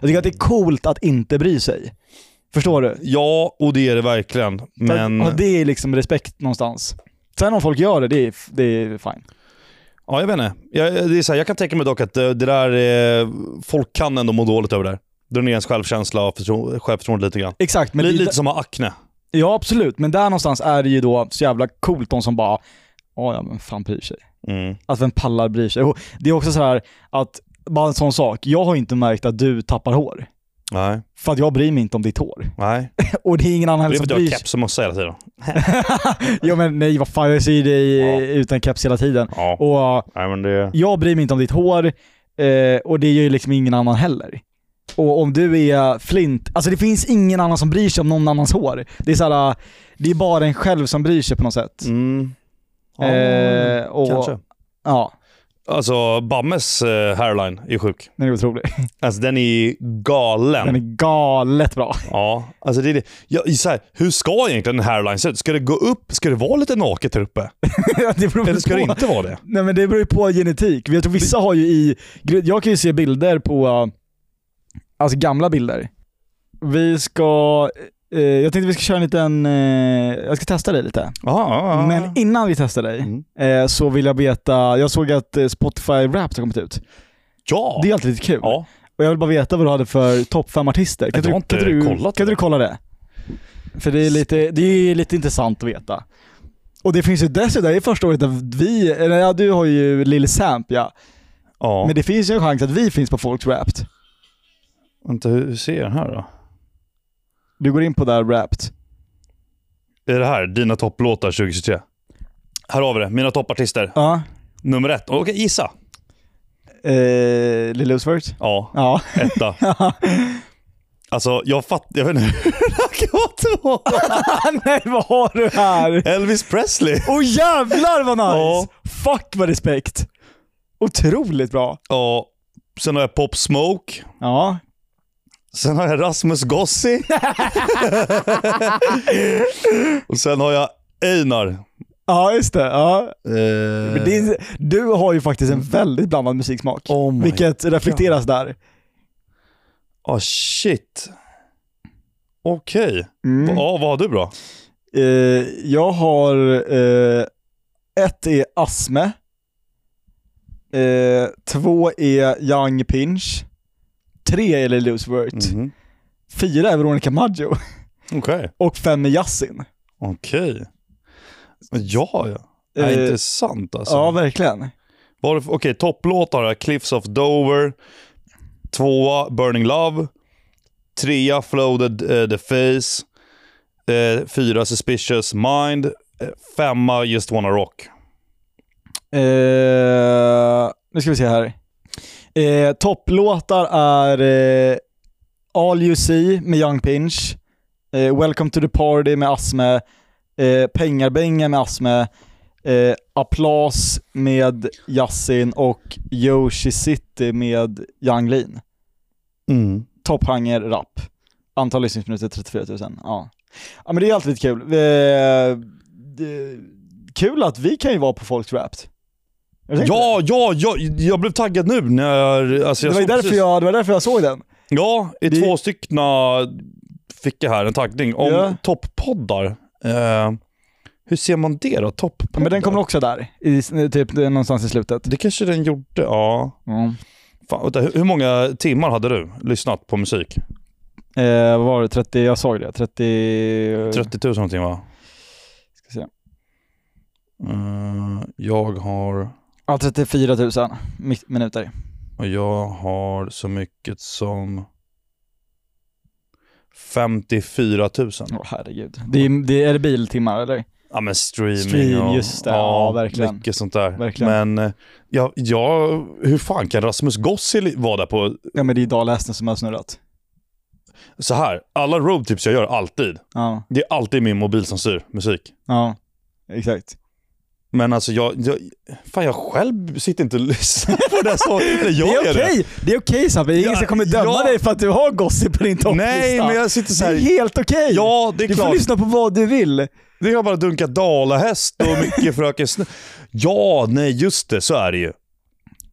S2: Jag tycker att det är coolt att inte bry sig. Förstår du?
S1: Ja, och det är det verkligen. Men...
S2: Ja, det är liksom respekt någonstans. Sen om folk gör det, det är, det är fine.
S1: Ja, jag vet inte. Jag, det är så här, jag kan tänka mig dock att det, det där... Eh, folk kan ändå må dåligt över det här. Drar ner ens självkänsla och förtro, självförtroende lite grann.
S2: Exakt, men
S1: Men
S2: det-
S1: lite som att ha akne.
S2: ja absolut. Men där någonstans är det ju då så jävla coolt de som bara, "Ja, ja men fan bryr sig.
S1: Mm.
S2: Att vem pallar bryr sig? Och det är också så här att, bara en sån sak, jag har inte märkt att du tappar hår.
S1: Nej,
S2: För att jag bryr mig inte om ditt hår.
S1: nej.
S2: Och det är ingen
S1: Det
S2: annan
S1: är för
S2: som
S1: att jag
S2: bryr
S1: har
S2: sig.
S1: keps och mössa hela tiden.
S2: Jo men nej vad fan, jag ser ju dig eh,
S1: Ja.
S2: utan keps hela tiden.
S1: Ja,
S2: Och
S1: nej men det...
S2: jag bryr mig inte om ditt hår, eh, och det gör ju liksom ingen annan heller. Och om du är flint, alltså det finns ingen annan som bryr sig om någon annans hår. Det är så här, eh, det är bara en själv som bryr sig på något sätt.
S1: Mm. Ja,
S2: Eh, och,
S1: kanske.
S2: Ja,
S1: Alltså, Bammes eh, hairline är sjuk.
S2: den är otrolig.
S1: Alltså den är galen.
S2: Den är galet bra.
S1: Ja, alltså det är det. Jag, så här, hur ska egentligen en hairline se ut? Ska det gå upp? Ska det vara lite naket här uppe?
S2: det beror
S1: Eller ska det
S2: på.
S1: inte vara det?
S2: Nej men det beror ju på genetik. Jag tror vissa har ju i... Jag kan ju se bilder på... uh, Alltså gamla bilder. Vi ska... eh, Jag tänkte vi ska köra en liten... eh, Jag ska testa dig lite.
S1: Ja, ja, ja.
S2: Men innan vi testar dig
S1: Mm.
S2: eh, så vill jag veta... Jag såg att eh, Spotify Wrapped har kommit ut.
S1: Ja!
S2: Det är alltid lite kul.
S1: ja.
S2: Och jag vill bara veta vad du hade för topp fem artister. Kan
S1: Jag har
S2: du,
S1: inte
S2: kan du,
S1: kollat
S2: kan
S1: det.
S2: du kolla det? För det är, lite, det är lite intressant att veta. Och det finns ju dessutom, det är första året där vi, eller ja du har ju Lil Samp ja.
S1: ja.
S2: Men det finns ju en chans att vi finns på Folks Wrapped.
S1: Vänta, hur ser den här då?
S2: Du går in på där Wrapped.
S1: Är det här dina topplåtar 2023? Här har vi det. Mina toppartister.
S2: Ja.
S1: Nummer ett. Okej, gissa.
S2: Eh, Lil Usfurt.
S1: Ja,
S2: Ja.
S1: etta. Alltså, jag fattar... Jag vet inte hur det här kan vara två.
S2: Nej vad har du här?
S1: Elvis Presley.
S2: Åh jävlar vad
S1: Ja.
S2: nice! Fuck vad respekt. Otroligt bra.
S1: Ja. Sen har jag Pop Smoke.
S2: Ja.
S1: Sen har jag Rasmus Gossi. Och sen har jag Einar.
S2: Ja just det. Ja. Men det
S1: Eh,
S2: är, du har ju faktiskt en väldigt blandad musiksmak.
S1: Oh my
S2: vilket reflekteras där.
S1: oh shit. Okej.
S2: Mm.
S1: Ja, vad har du bra?
S2: Eh, jag har... Eh, ett är Asme. Eh, två är Young Pinch. Tre är Lil Uzi
S1: Mhm.
S2: Fyra är Veronica Maggio.
S1: Okej.
S2: Och fem är Yasin.
S1: Okej. Ja, ja. Ja,
S2: Eh,
S1: intressant alltså.
S2: Ja, verkligen.
S1: Vad har du för- Okej, topplåtar här. Cliffs of Dover. Tvåa, Burning Love. Trea, Floated eh, the Face. Eh, fyra, Suspicious Mind. Eh, femma, Just Wanna Rock.
S2: Eh, nu ska vi se här. Eh, Topplåtar är eh, All You See med Young Pinch, eh, Welcome to the Party med Asme, eh, Pengarbängen med Asme, eh, Applås med Yasin och Yoshi City med Yang Lean. Toppgenre rap. Antal lyssningsminuter 34 000. Ja. ja men det är alltid lite kul. Eh, det, kul att vi kan ju vara på Folks Wrapped. Jag tänkte-
S1: Ja, ja, ja, jag blev taggad nu när... Alltså
S2: det
S1: jag
S2: var, ju
S1: såg
S2: därför
S1: precis-
S2: jag, det var därför jag såg den.
S1: Ja, i
S2: Det-
S1: två stycken fick jag här en taggning om
S2: Ja.
S1: topppoddar. Eh, hur ser man det då? Topppoddar?
S2: Men den kom också där, i, typ någonstans i slutet.
S1: Det kanske den gjorde, ja. Fan, vänta, hur hur många timmar hade du lyssnat på musik?
S2: Eh, vad var det? 30, jag såg det. 30...
S1: 30 000 någonting va?
S2: Ska se.
S1: Eh, jag har...
S2: Ja, 34 000 mi- minuter.
S1: Och jag har så mycket som 54 000.
S2: Åh herregud. Det är, det är, är det biltimmar eller?
S1: Ja men streaming
S2: Stream,
S1: och,
S2: just det. Ja, verkligen.
S1: mycket sånt där.
S2: Verkligen.
S1: Men eh, ja, ja, hur fan kan Rasmus Gossil vara där på...
S2: Ja men det är dagläsning som har snurrat.
S1: Så här, alla roadtrips jag gör alltid,
S2: Ja,
S1: det är alltid min mobil som styr musik.
S2: ja. Exakt.
S1: Men alltså jag, jag, fan jag själv sitter inte och lyssnar på det så, eller jag
S2: det är
S1: gör
S2: okej! Det är okej Sabbe, ingen
S1: Ja,
S2: som kommer döma
S1: ja.
S2: dig för att du har gossip på din topplista.
S1: Nej, men jag sitter så
S2: Det är
S1: här.
S2: helt okej!
S1: Ja, det är
S2: du får
S1: klart.
S2: lyssna på vad du vill.
S1: Det har bara dunkat dalahäst och mycket Fröken Snusk. Ja, nej just det, så är det ju.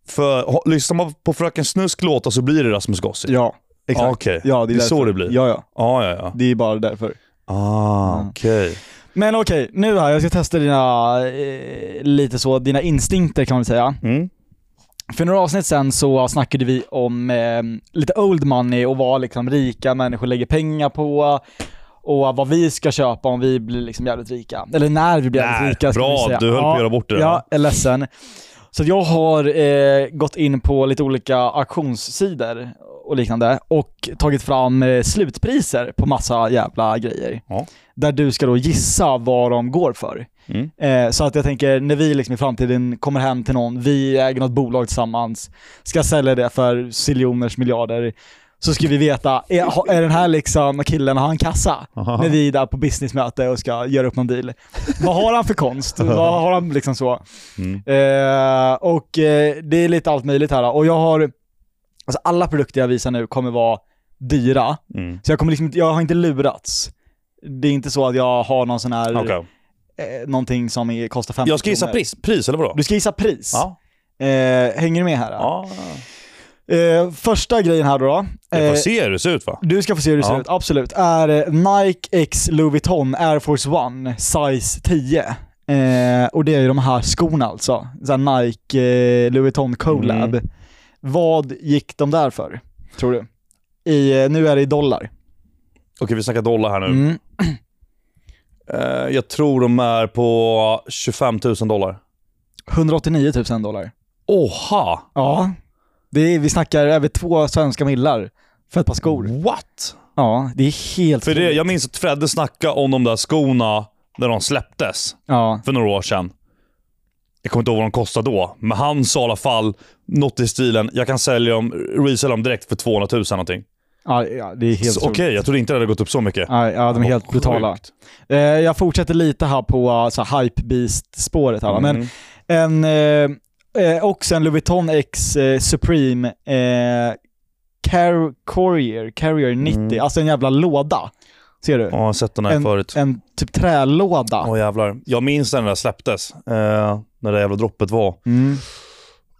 S1: För ha, lyssnar man på Fröken Snusk låtar så blir det Rasmus Gossi.
S2: Ja,
S1: Ah,
S2: exakt.
S1: Okej,
S2: Ja,
S1: det
S2: det
S1: är
S2: är
S1: så
S2: därför.
S1: det blir.
S2: Ja, ja.
S1: Ja, ja, ja.
S2: Det är bara därför.
S1: Ah,
S2: Mm.
S1: okej.
S2: Men okej, nu här, jag ska testa dina, eh, lite så, dina instinkter kan man väl säga.
S1: Mm.
S2: För några avsnitt sen så snackade vi om eh, lite old money och vad liksom rika människor lägger pengar på och vad vi ska köpa om vi blir liksom jävligt rika. Eller när vi blir
S1: Där,
S2: jävligt rika ska vi
S1: bra.
S2: säga.
S1: Du höll på att göra bort det där.
S2: Ja, jag är ledsen. Så att jag har eh, gått in på lite olika auktionssidor och liknande och tagit fram eh, slutpriser på massa jävla grejer.
S1: Ja.
S2: Där du ska då gissa vad de går för.
S1: Mm.
S2: Eh, så att jag tänker, när vi liksom i framtiden kommer hem till någon, vi äger något bolag tillsammans, ska sälja det för siljoners miljarder, så ska vi veta, är, ha- är den här liksom killen, har han kassa?
S1: Aha.
S2: När vi är där på businessmöte och ska göra upp någon deal. Vad har han för konst? Vad har han liksom så?
S1: Mm.
S2: Eh, och eh, det är lite allt möjligt här. Och jag har, alltså alla produkter jag visar nu kommer vara dyra.
S1: Mm.
S2: Så jag kommer liksom inte, jag har inte lurats. Det är inte så att jag har någon sån här,
S1: Okej.
S2: eh, någonting som är, kostar 50
S1: Jag ska gissa
S2: kronor.
S1: pris, pris eller vadå?
S2: Du ska gissa pris.
S1: Ja.
S2: Eh, hänger du med här? då?
S1: ja.
S2: Eh, första grejen här då.
S1: Jag
S2: eh,
S1: får se hur det ser ut va?
S2: du ska få se hur det ser
S1: Ja.
S2: ut, absolut. Är eh, Nike X Louis Vuitton Air Force One size 10. Eh, och det är ju de här skorna alltså. Så här Nike eh, Louis Vuitton Colab.
S1: Mm.
S2: Vad gick de där för, tror du? I, eh, nu är det i dollar.
S1: Okej, vi snackar dollar här nu.
S2: Mm.
S1: Eh, jag tror de är på 25 000 dollar.
S2: 189 000 dollar.
S1: Oha!
S2: Ja. Det är, vi snackar över två svenska millar för ett par skor.
S1: What?
S2: Ja, det är helt
S1: För det,
S2: otroligt.
S1: jag minns att Fredde snackade om de där skorna när de släpptes
S2: Ja.
S1: för några år sedan. Jag kommer inte ihåg vad de kostade då, men han sa i alla fall något i stilen jag kan sälja dem, resälja dem direkt för 200 000 någonting.
S2: Ja, ja, det är helt
S1: Så Okej,
S2: otroligt.
S1: jag trodde inte det hade gått upp så mycket.
S2: Ja, ja, de är
S1: Vad
S2: helt brutala.
S1: sjukt.
S2: Eh, jag fortsätter lite här på eh, så här, hypebeast-spåret här va. Men
S1: Mm.
S2: en, eh, eh, också en Louis Vuitton X eh, Supreme eh, Car- Courier, Carrier 90,
S1: Mm.
S2: alltså en jävla låda. Ser du?
S1: Ja, jag har sett den här
S2: En-
S1: förut.
S2: En typ trälåda.
S1: Åh jävlar. Jag minns när den där släpptes. Eh, när det jävla droppet var.
S2: Mm.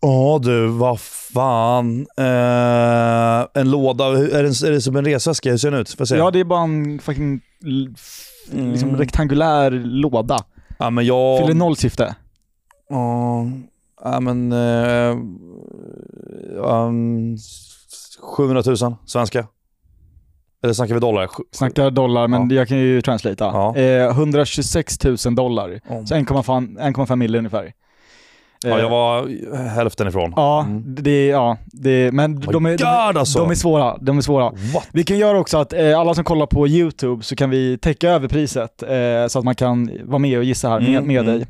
S1: Ja du, vad fan. Eh, en låda. Hur- Är det, är det som en resväska? Hur ser den ut? Får jag se?
S2: Ja,
S1: Ja,
S2: det är bara en fucking l- f- liksom
S1: Mm.
S2: rektangulär låda.
S1: men jag...
S2: Fyller noll syfte.
S1: Ja, ja, men... Eh, um, 700 000 svenska. Eller snackar vi dollar? Sju-
S2: Snackar dollar, men jag kan ju translatea.
S1: Ja.
S2: Eh, 126 000 dollar.
S1: Om-
S2: Så 1,5 1,5 miljoner ungefär.
S1: Ja, jag
S2: Eh,
S1: var hälften ifrån.
S2: Ja,
S1: Mm.
S2: det, ja det, men
S1: My
S2: de är, de,
S1: God alltså!
S2: är, de är svåra. De är svåra.
S1: What?
S2: Vi kan göra också att eh, alla som kollar på YouTube så kan vi täcka över priset eh, så att man kan vara med och gissa här med,
S1: Mm,
S2: med
S1: mm.
S2: dig.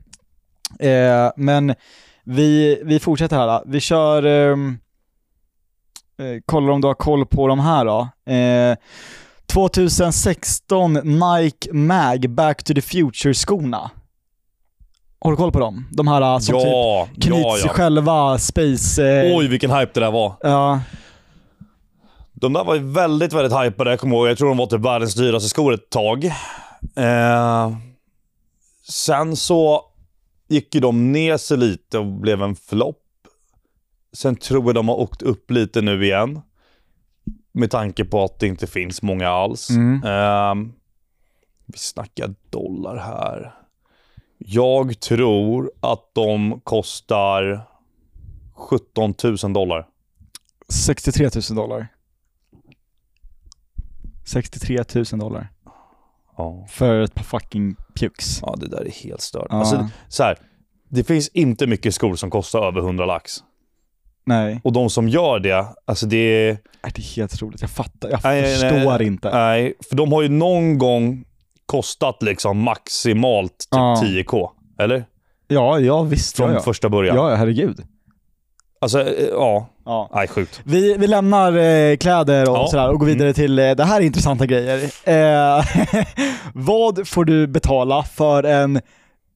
S2: Eh, men vi, vi fortsätter här. då. Vi kör... ehm, eh, kollar om du har koll på de här då. Eh, 2016 Nike Mag Back to the Future-skorna. Har du koll på dem? De här eh, som typ
S1: ja,
S2: knyts
S1: ja,
S2: i
S1: ja.
S2: själva space... Eh,
S1: Oj, vilken hype det där var.
S2: Ja,
S1: De där var ju väldigt, väldigt hypade. Jag kommer ihåg, jag tror de var typ världens dyraste skor ett tag. Eh, sen så gick ju de ner sig lite och blev en flopp. Sen tror jag de har åkt upp lite nu igen. Med tanke på att det inte finns många alls.
S2: Mm.
S1: Eh, vi snackar dollar här. Jag tror att de kostar 17 000 dollar.
S2: 63 000 dollar. 63 000 dollar.
S1: Ja.
S2: För ett par fucking pjux.
S1: Ja, det där är helt stört.
S2: Ja.
S1: Alltså, så här, det finns inte mycket skor som kostar över 100 lax.
S2: Nej.
S1: Och de som gör det, alltså det är...
S2: Nej, Det är helt otroligt. Jag fattar. Jag
S1: Nej, nej, nej.
S2: förstår inte.
S1: Nej, för de har ju någon gång kostat liksom maximalt typ
S2: Ja.
S1: 10k. Eller?
S2: Ja, ja visst.
S1: Från
S2: ja, ja.
S1: första början.
S2: ja, ja, herregud.
S1: Alltså, eh, ja.
S2: Ja.
S1: Nej, sjukt.
S2: Vi, vi lämnar eh, kläder och
S1: Ja. Mm.
S2: sådär och går vidare till, eh, det här är intressanta grejer. Eh, vad får du betala för en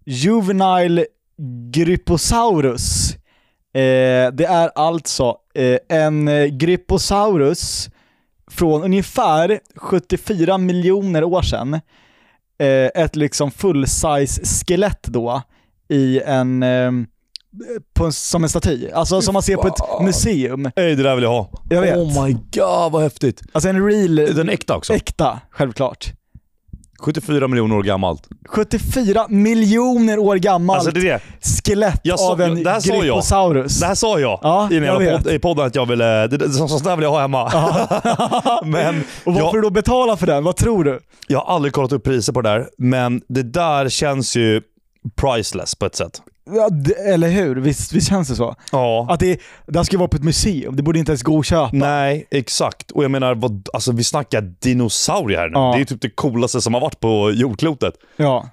S2: juvenile Gryposaurus? Eh, det är alltså eh, en eh, Gryposaurus från ungefär 74 miljoner år sedan. Eh, ett liksom full-size skelett då i en, eh, på en, som en staty. Alltså som man ser på ett
S1: fan.
S2: museum.
S1: Ey, det där vill jag ha.
S2: Jag vet.
S1: Oh my god, vad häftigt.
S2: Alltså en real,
S1: Den är äkta också.
S2: äkta, självklart.
S1: 74 miljoner år gammalt.
S2: 74 miljoner år gammal
S1: Alltså det är det.
S2: skelett
S1: Jag sa-
S2: av en
S1: det här sa jag.
S2: Gryposaurus.
S1: Det här sa jag
S2: Ja,
S1: i, den
S2: jag
S1: jävla
S2: vet.
S1: pod- i podden att jag ville... Det, det, så, sånt där vill jag ha hemma. Men
S2: Och vad
S1: jag-
S2: får du då betala för den? Vad tror du?
S1: Jag har aldrig kollat upp priser på det där, men det där känns ju priceless på ett sätt.
S2: Ja, d- eller hur? Visst, visst känns det så?
S1: Ja.
S2: Att det, det här ska ju vara på ett museum, det borde inte ens gå att köpa.
S1: Nej, exakt. Och jag menar, vad, alltså, vi snackar dinosaurier här nu.
S2: Ja.
S1: Det är ju typ det coolaste som har varit på jordklotet.
S2: Ja.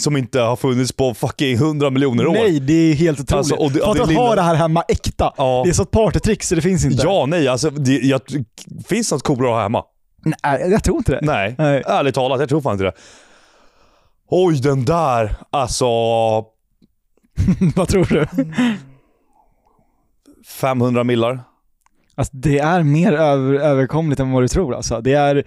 S1: Som inte har funnits på fucking 100 miljoner år.
S2: Nej, det är helt otroligt.
S1: Alltså, och det-
S2: För
S1: och
S2: att
S1: det
S2: de
S1: lilla-
S2: har det här hemma äkta.
S1: Ja.
S2: Det är så ett partytrick så det finns inte.
S1: Ja, nej. Alltså, det, jag, finns något coolare att ha hemma?
S2: Nej, jag tror inte det.
S1: Nej.
S2: Nej.
S1: Ärligt talat, jag tror fan inte det. Oj, den där. Alltså,
S2: vad tror du?
S1: 500 millar.
S2: Alltså, det är mer över, överkomligt än vad du tror alltså. Det är,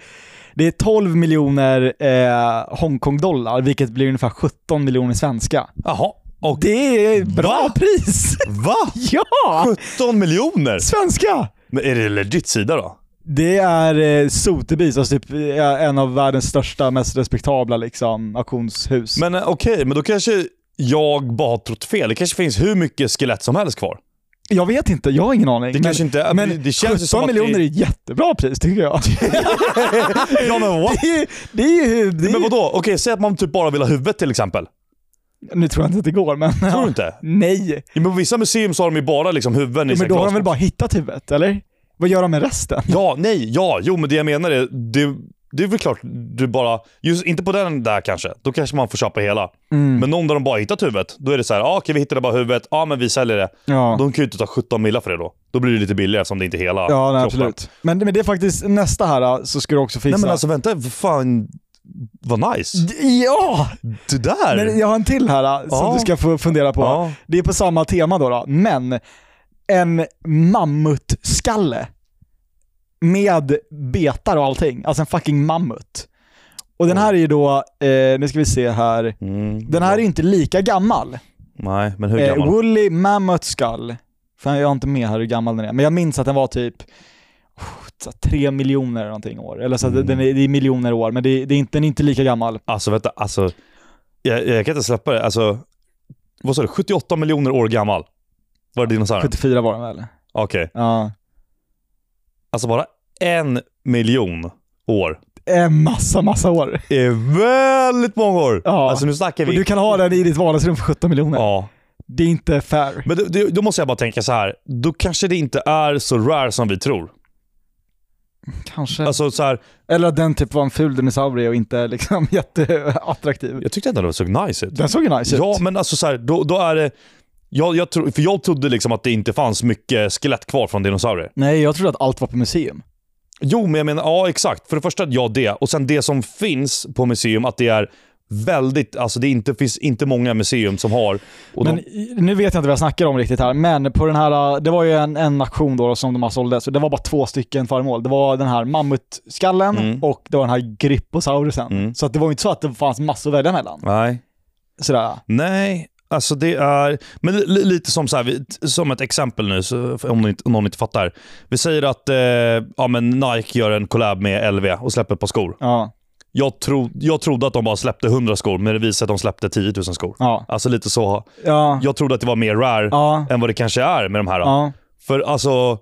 S2: det är 12 miljoner eh, Hongkong-dollar, vilket blir ungefär 17 miljoner svenska.
S1: Jaha. Och,
S2: Det är bra
S1: Va?
S2: pris!
S1: va?
S2: ja!
S1: 17 miljoner?
S2: Svenska!
S1: Men är det legit sida då?
S2: Det är eh, Sotheby's, alltså typ eh, en av världens största, mest respektabla liksom, auktionshus.
S1: Men eh, okej, men då kanske jag bara har trott fel. Det kanske finns hur mycket skelett som helst kvar.
S2: jag vet inte, jag har ingen aning.
S1: Det
S2: men
S1: kanske inte...
S2: men
S1: det känns ju
S2: 17
S1: som att
S2: miljoner är ett jättebra pris tycker jag.
S1: Det, ja, men what?
S2: det är ju... Det är ju det är,
S1: Men vadå? Okej, säg att man typ bara vill ha huvudet till exempel.
S2: nu tror jag inte att det går, men...
S1: Tror du inte?
S2: Nej.
S1: Ja, men på vissa museum så har de ju bara liksom huvuden i
S2: Men
S1: sina
S2: då har de väl
S1: glasskåp.
S2: bara hittat huvudet, eller? Vad gör de med resten?
S1: Ja, nej, ja, jo men det jag menar är... Det, det är väl klart du bara... Just inte på den där kanske. Då kanske man får köpa hela.
S2: Mm.
S1: Men någon där de bara hittat huvudet, då är det så här, ah, okej vi hittade bara huvudet, ja ah, men vi säljer det.
S2: Ja,
S1: De kan ju inte ta 17 millar för det då. Då blir det lite billigare som det inte är hela
S2: ja nej,
S1: kroppen.
S2: absolut. Men, men det är faktiskt nästa här då, så ska du också fixa.
S1: Nej men alltså vänta, vad fan... Vad nice.
S2: D- Ja!
S1: Det där?
S2: Mm. Men jag har en till här då, som
S1: Ja.
S2: du ska få fundera på.
S1: Ja.
S2: Det är på samma tema då, då men en mammutskalle med betar och allting. Alltså en fucking mammut. Och den här är ju då, eh, nu ska vi se här.
S1: Mm.
S2: Den här är ju inte lika gammal.
S1: Nej, men hur
S2: Eh,
S1: gammal?
S2: Woolly Mammoth Skull. Fan, jag har inte med här hur gammal den är, men jag minns att den var typ oh, så här, tre miljoner eller någonting år. Eller så att den är, det är miljoner år, men det, det är inte, den är inte lika gammal.
S1: alltså vänta, alltså. Jag, jag kan inte släppa det. Alltså, vad sa du? 78 miljoner år gammal? Var det dinosaurien?
S2: 74 var den väl?
S1: Okej.
S2: Ja.
S1: Alltså bara en miljon år.
S2: En massa, massa år.
S1: Det är väldigt många år.
S2: Ja.
S1: Alltså nu snackar
S2: Och
S1: vi...
S2: du kan ha den i ditt vardagsrum för 17 miljoner.
S1: Ja.
S2: Det är inte fair.
S1: Men då, då- då måste jag bara tänka så här. Då kanske det inte är så rare som vi tror.
S2: Kanske.
S1: Alltså så här,
S2: Eller att den typ var en ful dinosaurie och inte liksom jätteattraktiv.
S1: jag tyckte ändå det såg nice ut.
S2: Den såg ju nice ut.
S1: Ja, men alltså så här, då, då är det... Jag, jag tro, för jag trodde liksom att det inte fanns mycket skelett kvar från dinosaurier.
S2: Nej, jag trodde att allt var på museum.
S1: Jo, men jag menar, ja exakt. För det första, ja det. Och sen det som finns på museum, att det är väldigt, alltså det är inte, finns inte många museum som har. Och
S2: men
S1: de,
S2: i- nu vet jag inte vad jag snackar om riktigt här, men på den här, eh, det var ju en, en auktion då som de här sålde, så det var bara två stycken föremål. Det var den här mammutskallen
S1: Mm.
S2: och det var den här gryposaurusen.
S1: Mm.
S2: Så att det var ju inte så att det fanns massor att välja mellan.
S1: nej.
S2: Sådär.
S1: Nej, alltså det är... Men li, lite som, så här, vi- t- som ett exempel nu, så, om, ni, inte- om någon inte fattar. Vi säger att eh, ja, men Nike gör en collab med LV och släpper ett par skor.
S2: Ja,
S1: Jag, tro, jag trodde att de bara släppte 100 skor, men det visade sig att de släppte 10 000 skor.
S2: ja,
S1: Alltså lite så.
S2: ja,
S1: Jag trodde att det var mer rare
S2: ja,
S1: än vad det kanske är med de här. då.
S2: ja.
S1: För alltså,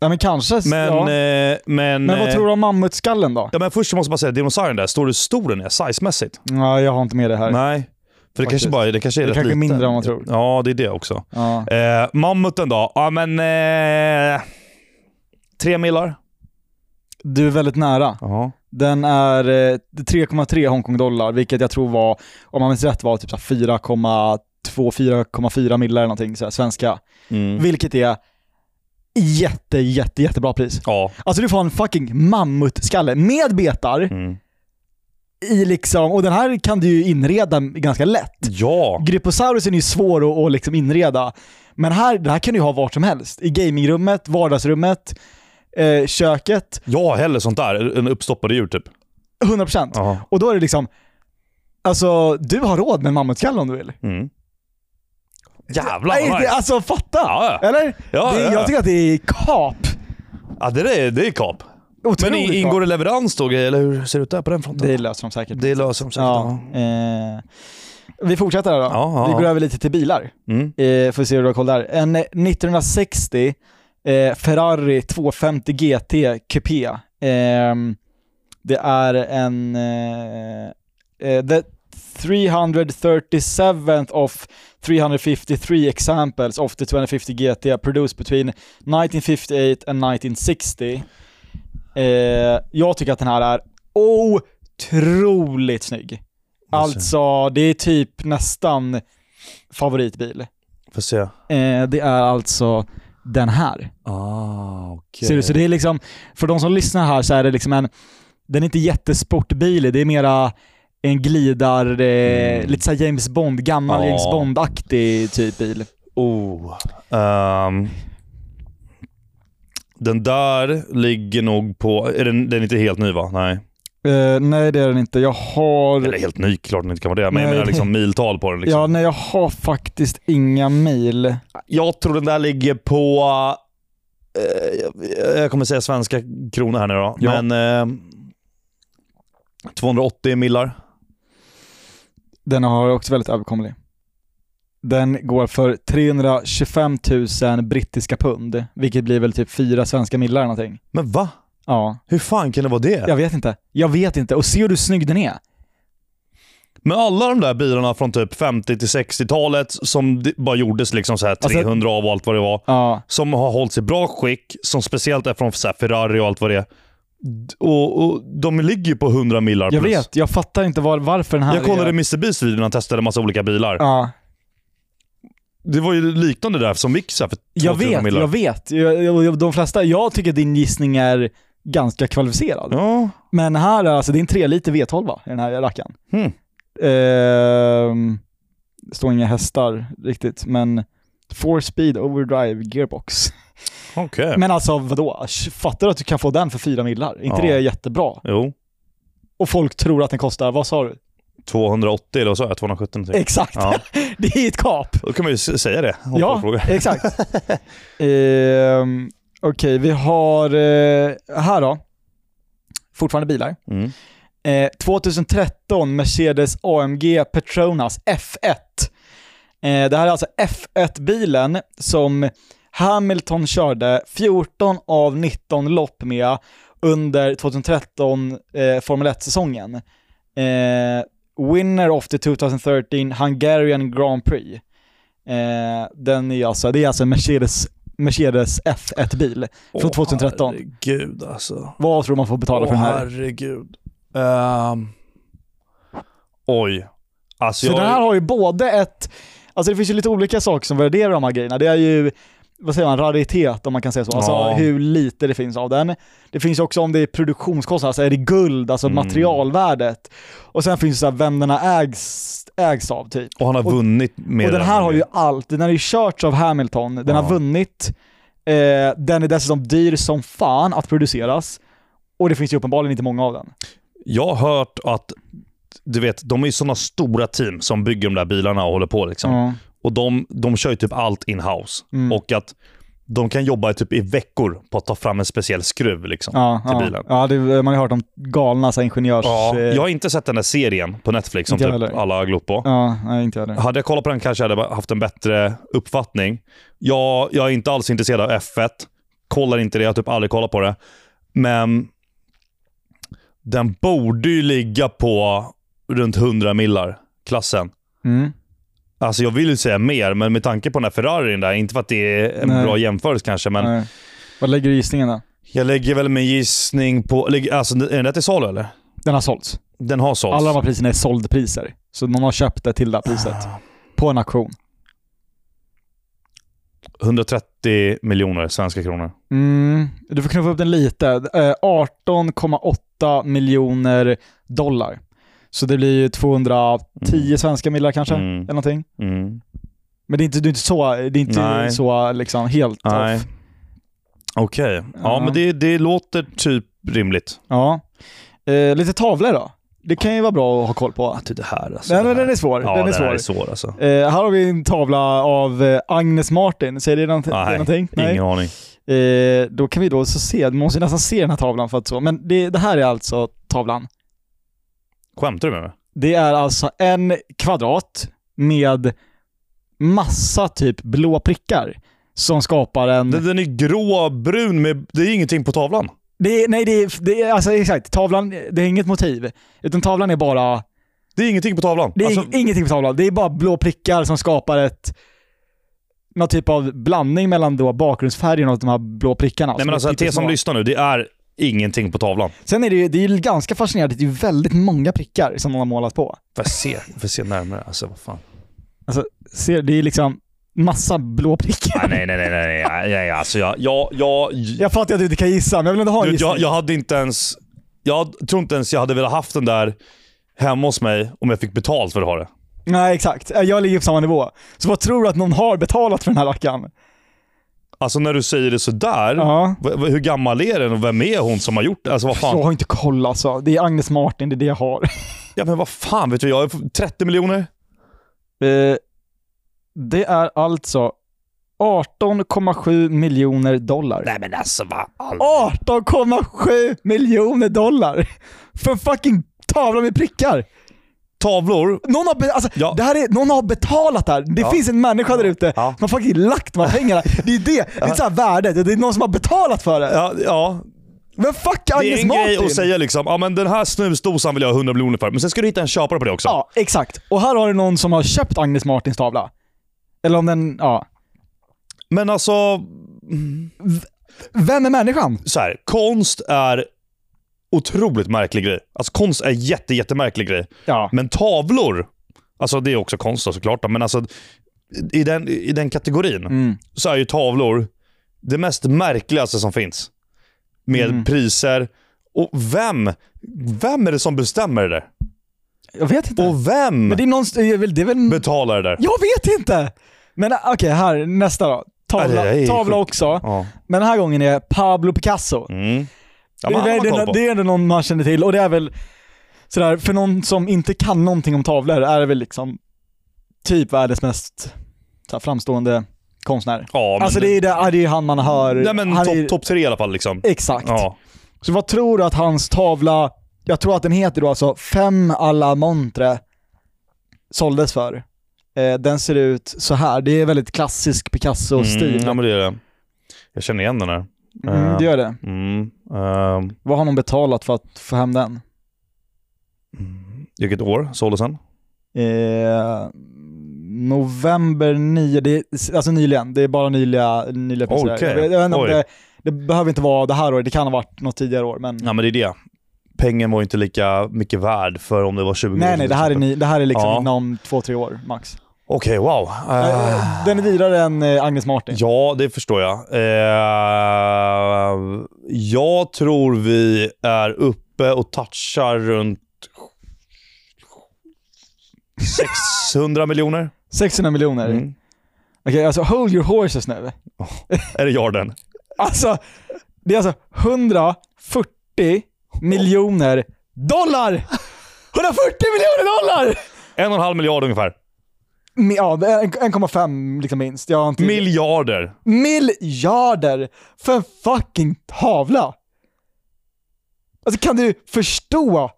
S2: Ja men kanske. s-
S1: men...
S2: ja.
S1: Eh, men,
S2: men vad
S1: eh,
S2: tror du om mammutskallen då?
S1: Ja, men först så måste jag bara säga, dinosaurien där, står du hur stor den är sizemässigt?
S2: Ja, jag har inte med det här.
S1: Nej. För det kanske,
S2: Faktiskt.
S1: bara, det kanske är
S2: Det
S1: rätt
S2: kanske är
S1: liten.
S2: mindre än man tror.
S1: Ja, det är det också.
S2: Ja.
S1: Eh, mammuten då? Ja men... Eh, tre millar.
S2: Du är väldigt nära.
S1: Ja.
S2: Den är eh, 3,3 Hongkong-dollar, vilket jag tror var, om man minns rätt, var typ så här 4,2, 4,4 millar eller någonting så här, svenska.
S1: Mm.
S2: Vilket är jätte, jätte, jättebra pris.
S1: Ja.
S2: Alltså du får en fucking mammutskalle med betar
S1: Mm.
S2: i liksom, och den här kan du ju inreda ganska lätt.
S1: Ja.
S2: Gryposaurusen är ju svår att, att liksom inreda, men här, den här kan du ju ha vart som helst. I gamingrummet, vardagsrummet, eh, köket,
S1: Ja, heller sånt där. En uppstoppade djur typ.
S2: 100%.
S1: Ja.
S2: Och då är det liksom, alltså du har råd med en mammutskalle om du vill.
S1: Mm. Jävlar
S2: Nej,
S1: vad
S2: det,
S1: nice.
S2: alltså fatta!
S1: Ja, ja.
S2: Eller?
S1: Ja,
S2: det,
S1: ja, ja.
S2: Jag tycker att det är kap.
S1: Ja, det är, det är kap.
S2: Otroligt
S1: Men i- ingår
S2: kap.
S1: det leverans då, eller hur ser det ut där på den fronten?
S2: Det löser de säkert.
S1: det löser de säkert.
S2: ja.
S1: Ja.
S2: eh, vi fortsätter här då.
S1: Ja, ja,
S2: vi går
S1: ja.
S2: över lite till bilar.
S1: Mm.
S2: Eh, får se hur du har koll där. En eh, 1960 eh, Ferrari 250 GT Coupé. Ehm, det är en... Eh, eh, the 337th of 353 examples of the 250 GT produced between 1958 and 1960. Eh, jag tycker att den här är otroligt snygg. Alltså, det är typ nästan favoritbil.
S1: Får se.
S2: Eh, det är alltså den här.
S1: Ah, okej.
S2: Ser du? Så det är liksom, för de som lyssnar här så är det liksom en, den är inte jättesportbilig, det är mera en glidar, eh,
S1: Mm.
S2: lite såhär James Bond, gammal
S1: Ja.
S2: James Bond-aktig typ bil.
S1: Oh. Ehm, den där ligger nog på... Är den, den är inte helt ny va? Nej.
S2: Eh, nej det är den inte, jag har...
S1: Eller helt ny, klart den inte kan vara det. Men jag
S2: Nej,
S1: menar
S2: det-
S1: liksom miltal på den. Liksom.
S2: Ja, nej jag har faktiskt inga mil.
S1: Jag tror den där ligger på... eh, jag- jag kommer säga svenska kronor här nu då.
S2: Ja.
S1: Men eh, 280 millar.
S2: Den har jag också väldigt överkomlig. Den går för 325 000 brittiska pund, vilket blir väl typ fyra svenska millar eller någonting.
S1: Men va?
S2: Ja.
S1: Hur fan kan det vara det?
S2: Jag vet inte. Jag vet inte. Och se hur du snygg den är.
S1: Men alla de där bilarna från typ 50 till 60-talet som det bara gjordes liksom så här
S2: Alltså-
S1: 300 av och allt vad det var.
S2: Ja.
S1: Som har hållit i bra skick, som speciellt är från så här Ferrari och allt vad det är. D- Och, och de ligger ju på 100 millar
S2: Jag
S1: plus.
S2: vet. Jag fattar inte var, varför den här
S1: Jag kollade
S2: är...
S1: Mr Beast videon när han testade massa olika bilar.
S2: Ja.
S1: Det var ju liknande där som gick så här för 200
S2: Jag vet,
S1: millar.
S2: jag vet. Jag, jag, jag- de flesta, jag tycker din gissning är ganska kvalificerad.
S1: Ja.
S2: Men här, är alltså, det är en 3 liter V12 i den här rackaren.
S1: Hmm.
S2: Ehm, det står inga hästar riktigt, men 4 speed overdrive gearbox.
S1: Okej.
S2: Men alltså vadå? Fattar du att du kan få den för fyra millar? inte
S1: Ja.
S2: det jättebra?
S1: Jo.
S2: Och folk tror att den kostar, vad sa du?
S1: 280 eller vad sa jag? 270 någonting.
S2: Exakt!
S1: Ja,
S2: det är ett kap!
S1: då kan man ju s- säga det. om folk frågar.
S2: exakt. Ehm, Okej, vi har eh, här då. Fortfarande bilar.
S1: Mm.
S2: Eh, 2013 Mercedes AMG Petronas F1. Eh, det här är alltså F1-bilen som Hamilton körde 14 av 19 lopp med under 2013 eh, Formel 1-säsongen. Eh, winner of the 2013 Hungarian Grand Prix. Eh, den är alltså, det är alltså en Mercedes, Mercedes F1-bil från
S1: Åh,
S2: 2013.
S1: Herregud alltså.
S2: Vad tror man får
S1: Åh,
S2: betala för den här?
S1: herregud. Ehm. Oj. Alltså
S2: Så
S1: jag...
S2: den här har ju både ett, Alltså det finns ju lite olika saker som värderar de här grejerna. Det är ju, vad säger man, raritet om man kan säga så. Alltså
S1: Ja.
S2: hur lite det finns av den. Det finns ju också om det är produktionskostnad, alltså är det guld, alltså
S1: Mm.
S2: materialvärdet. Och sen finns det så här, vem den här ägs, ägs av typ.
S1: Och han har
S2: Och-
S1: vunnit med
S2: Och den här har ju allt. Den här är ju körts av Hamilton, den
S1: Ja.
S2: har vunnit, eh, den är dessutom dyr som fan att produceras. Och det finns ju uppenbarligen inte många av den.
S1: Jag har hört att, du vet, de är ju sådana stora team som bygger de där bilarna och håller på liksom.
S2: Ja.
S1: Och de, de kör ju typ allt in-house.
S2: Mm.
S1: Och att de kan jobba i typ i veckor på att ta fram en speciell skruv liksom.
S2: Ja,
S1: till
S2: ja.
S1: bilen.
S2: Ja, det, man har ju hört om galna så här, ingenjörs...
S1: Ja,
S2: eh,
S1: jag har inte sett den där serien på Netflix som
S2: Inte jag
S1: typ
S2: heller.
S1: alla har glott på.
S2: ja nej, inte jag heller.
S1: Hade jag kollat på den kanske jag hade haft en bättre uppfattning. Jag, jag är inte alls intresserad av F1. Kollar inte det. Jag har typ aldrig kollat på det. Men den borde ju ligga på runt 100 millar, klassen.
S2: Mm.
S1: Alltså jag vill ju säga mer, men med tanke på den här Ferrarin där, inte för att det är en
S2: Nej.
S1: bra jämförelse kanske, men
S2: Nej. Vad lägger du i gissningen då?
S1: jag lägger väl min gissning på... lägg- Alltså, är den där till salu eller?
S2: Den har sålts.
S1: Den har sålts.
S2: Alla de här priserna är såldpriser. Så någon har köpt det till det här priset. På en auktion.
S1: 130 miljoner svenska kronor.
S2: Mm. Du får knuffa upp den lite. Eh, 18,8 miljoner dollar. Så det blir ju 210 svenska millar kanske.
S1: Mm.
S2: Eller någonting.
S1: Mm.
S2: Men det är inte, det är inte så, det är inte
S1: Nej.
S2: så liksom helt
S1: Nej.
S2: off.
S1: Okej. Ja,
S2: Ja.
S1: men det, det låter typ rimligt.
S2: Ja. Eh, lite tavlor då. Det kan ju vara bra att ha koll på.
S1: Att det här alltså.
S2: Nej,
S1: det
S2: men
S1: här.
S2: den är svår.
S1: ja,
S2: den
S1: här
S2: är svår.
S1: är svår alltså.
S2: Eh, här har vi en tavla av eh, Agnes Martin. Säger det nånt-
S1: Ah, Nej,
S2: det någonting?
S1: Ingen aning.
S2: Eh, då kan vi då så se, man måste ju nästan se den här tavlan för att så, men det, det här är alltså tavlan.
S1: Skämtar du med mig?
S2: Det är alltså en kvadrat med massa typ blå prickar som skapar en...
S1: Den, den är gråbrun med... Det är ingenting på tavlan.
S2: Det är, nej, det är, det är alltså exakt, tavlan, det är inget motiv. Utan tavlan är bara,
S1: Det är ingenting på tavlan.
S2: det är
S1: alltså,
S2: ing- ingenting på tavlan. Det är bara blå prickar som skapar ett någon typ av blandning mellan då bakgrundsfärgen och de här blå prickarna.
S1: nej, men alltså,
S2: är
S1: till som
S2: pyttesmå.
S1: lyssnar nu, det är ingenting på tavlan.
S2: Sen är det ju, det är ju ganska fascinerande, det är ju väldigt många prickar som de har målat på.
S1: Får jag se, får jag se närmare? Alltså, vad fan.
S2: Ser, det är liksom massa blå prickar.
S1: Nej, nej, nej, nej, nej, nej, nej alltså jag... Jag, jag,
S2: Jag fattar att du inte kan gissa, men jag vill ändå ha en
S1: du,
S2: gissning.
S1: jag, jag hade inte ens... Jag tror inte ens jag hade velat haft den där hemma hos mig om jag fick betalt för att ha det.
S2: Nej, exakt. Eh, Jag ligger på samma nivå. Så vad tror du att någon har betalat för den här
S1: Mm.
S2: rackaren?
S1: Alltså när du säger det sådär,
S2: Ja.
S1: v- v- hur gammal är den och vem är hon som har gjort det? Alltså vad
S2: Jag
S1: fan?
S2: har inte koll alltså. Det är Agnes Martin, det är det jag har.
S1: Ja men vad fan vet du, jag är 30 miljoner?
S2: Eh, det är alltså 18,7 miljoner dollar.
S1: Nej men alltså vad...
S2: 18,7 miljoner dollar! För en fucking tavla med prickar!
S1: Tavlor?
S2: Någon har, be- alltså,
S1: Ja.
S2: det här är, någon har betalat det här. Det
S1: Ja.
S2: finns en människa där ute
S1: Ja.
S2: som har fucking lagt de här pengarna. Det är det. Det är så här värdet. Det är någon som har betalat för det.
S1: Ja, ja.
S2: Men fuck
S1: Det är
S2: Agnes
S1: en grej
S2: Martin!
S1: att säga liksom, ja men den här snusdosan vill jag ha 100 miljoner för. Men sen ska du hitta en köpare på det också.
S2: Ja, exakt. Och här har du någon som har köpt Agnes Martins tavla. Eller om den, ja.
S1: Men alltså,
S2: Vem är människan?
S1: så här, konst är otroligt märklig grej. Alltså konst är jätte, jättemärklig grej.
S2: Ja.
S1: Men tavlor, alltså det är också konst då, såklart, då, men alltså i den, i den kategorin
S2: Mm.
S1: så är ju tavlor det mest märkligaste som finns. Med
S2: Mm.
S1: priser. Och vem, vem är det som bestämmer det där?
S2: Jag vet inte.
S1: Och vem
S2: Men det är någon, det är väl, det är väl...
S1: betalar det där?
S2: Jag vet inte! Men eh, okej, här, nästa då.
S1: Ja, det
S2: Tavla,
S1: är ju
S2: tavla
S1: sjukt.
S2: också.
S1: Ja.
S2: Men den här gången är Pablo Picasso.
S1: Mm. Ja,
S2: det,
S1: men
S2: är,
S1: han har
S2: det,
S1: koll
S2: är-
S1: på.
S2: det är ändå någon man känner till och det är väl sådär, för någon som inte kan någonting om tavlor är det väl liksom typ världens mest såhär, framstående konstnär.
S1: Ja, men,
S2: alltså det är, det, ja, det är ju han man hör.
S1: nej, men
S2: han
S1: topp
S2: är,
S1: topp tre i alla fall. Liksom.
S2: Exakt.
S1: Ja.
S2: Så vad tror du att hans tavla, jag tror att den heter då alltså Fem à la Montre, såldes för. Eh, den ser ut så här. det är väldigt klassisk Picasso-stil.
S1: Mm, ja, men det är det. Jag känner igen den här.
S2: Mm, det gör det.
S1: Mm, ehm,
S2: Vad har någon betalat för att få hem den?
S1: vilket år såldes den?
S2: Eh, november 9, det är, alltså nyligen. Det är bara nyliga, nyliga priser.
S1: Okej.
S2: Jag vet- jag vet inte om
S1: Oj.
S2: det, det behöver inte vara det här året, det kan ha varit något tidigare år. Men...
S1: Ja, men det är det. Pengen var ju inte lika mycket värd för om det var 20 år
S2: Nej
S1: sedan
S2: nej,
S1: till
S2: det här är,
S1: exempel.
S2: ny, det här är liksom
S1: Ja.
S2: inom två, tre år max.
S1: Okej, wow. Eh,
S2: Eh, Den är dyrare än eh, Agnes Martin.
S1: Ja, det förstår jag. Eh, jag tror vi är uppe och touchar runt 600 miljoner.
S2: 600 miljoner. Okej,
S1: Mm.
S2: alltså hold your horses nu.
S1: Är det yarden?
S2: Alltså, det är alltså 140 miljoner dollar! 140 miljoner dollar!
S1: En och en halv miljard ungefär.
S2: Mi- Ja, det är 1,5 liksom minst. Jag har inte...
S1: Miljarder.
S2: miljarder för en fucking tavla! Alltså kan du förstå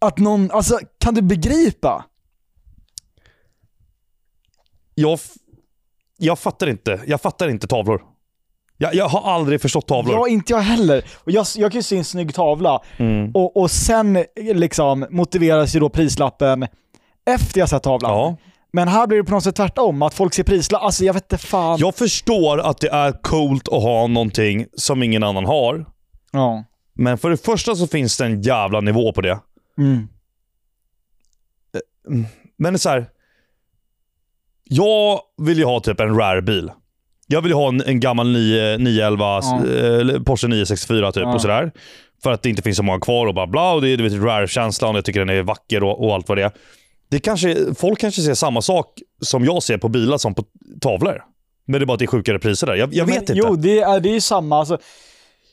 S2: att någon, alltså kan du begripa?
S1: Jag, f- jag fattar inte. Jag fattar inte tavlor. Jag, jag har aldrig förstått tavlor.
S2: Ja, inte jag heller. Och jag, jag kan ju se en snygg tavla
S1: Mm.
S2: och, och sen liksom motiveras ju då prislappen efter jag sett tavlan.
S1: Ja.
S2: Men här blir det på något sätt tvärtom, att folk ser prislappen, alltså jag vet inte fan.
S1: Jag förstår att det är coolt att ha någonting som ingen annan har.
S2: Ja.
S1: Men för det första så finns det en jävla nivå på det.
S2: Mm.
S1: Men det är så här. Jag vill ju ha typ en rare-bil. Jag vill ju ha en, en gammal 9, 911,
S2: Ja.
S1: eh, eller Porsche 964 typ
S2: Ja.
S1: och sådär. För att det inte finns så många kvar och bla bla. Och det är du vet, rare-känslan och jag tycker den är vacker och, och allt vad det är. Det kanske, folk kanske ser samma sak som jag ser på bilar som på tavlor. Men det är bara att det är sjukare priser där. Jag, jag vet
S2: Men,
S1: inte.
S2: Jo, det är, det är ju samma. Alltså,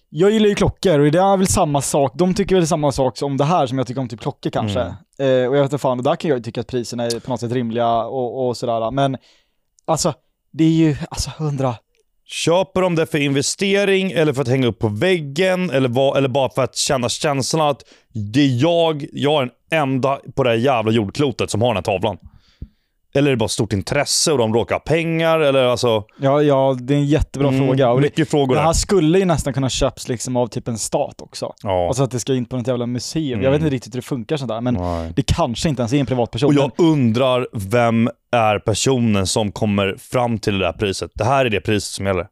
S2: jag gillar ju klockor och det är väl samma sak. De tycker väl samma sak som det här som jag tycker om typ klockor kanske.
S1: Mm.
S2: Eh, och jag vet inte fan, och där kan jag ju tycka att priserna är på något sätt rimliga och, och sådär. Men alltså, det är ju alltså hundra.
S1: Köper de det för investering eller för att hänga upp på väggen eller, vad, eller bara för att känna känslan att det är jag, jag är den enda på det här jävla jordklotet som har den här tavlan. Eller är det bara ett stort intresse och de råkar ha pengar eller alltså...
S2: Ja, ja, det är en jättebra
S1: Mm,
S2: fråga. Och det,
S1: Mycket frågor
S2: det
S1: där.
S2: här skulle ju nästan kunna köps liksom av typ en stat också.
S1: Ja.
S2: Alltså att det ska in på något jävla museum. Jag
S1: Mm.
S2: vet inte riktigt hur det funkar sånt där, men
S1: Nej.
S2: det kanske inte ens är en privatperson.
S1: och
S2: men-
S1: jag undrar vem är personen som kommer fram till det här priset. Det här är det priset som gäller.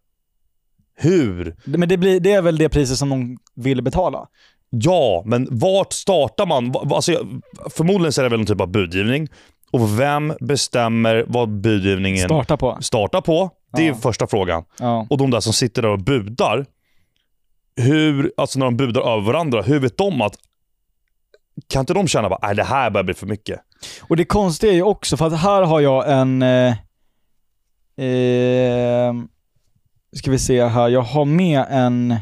S1: Hur?
S2: Men det, blir, det är väl det priset som någon vill betala.
S1: Ja, men vart startar man? Va- va- Alltså, jag- förmodligen så är det väl någon typ av budgivning. Och vem bestämmer vad budgivningen
S2: Starta på.
S1: startar på? Det är
S2: Ja.
S1: första frågan.
S2: Ja.
S1: Och de där som sitter där och budar. Hur, alltså när de budar över varandra, hur vet de att... Kan inte de känna att det här börjar bli för mycket?
S2: Och det konstiga är ju också, för att här har jag en... Eh, eh, ska vi se här, jag har med en...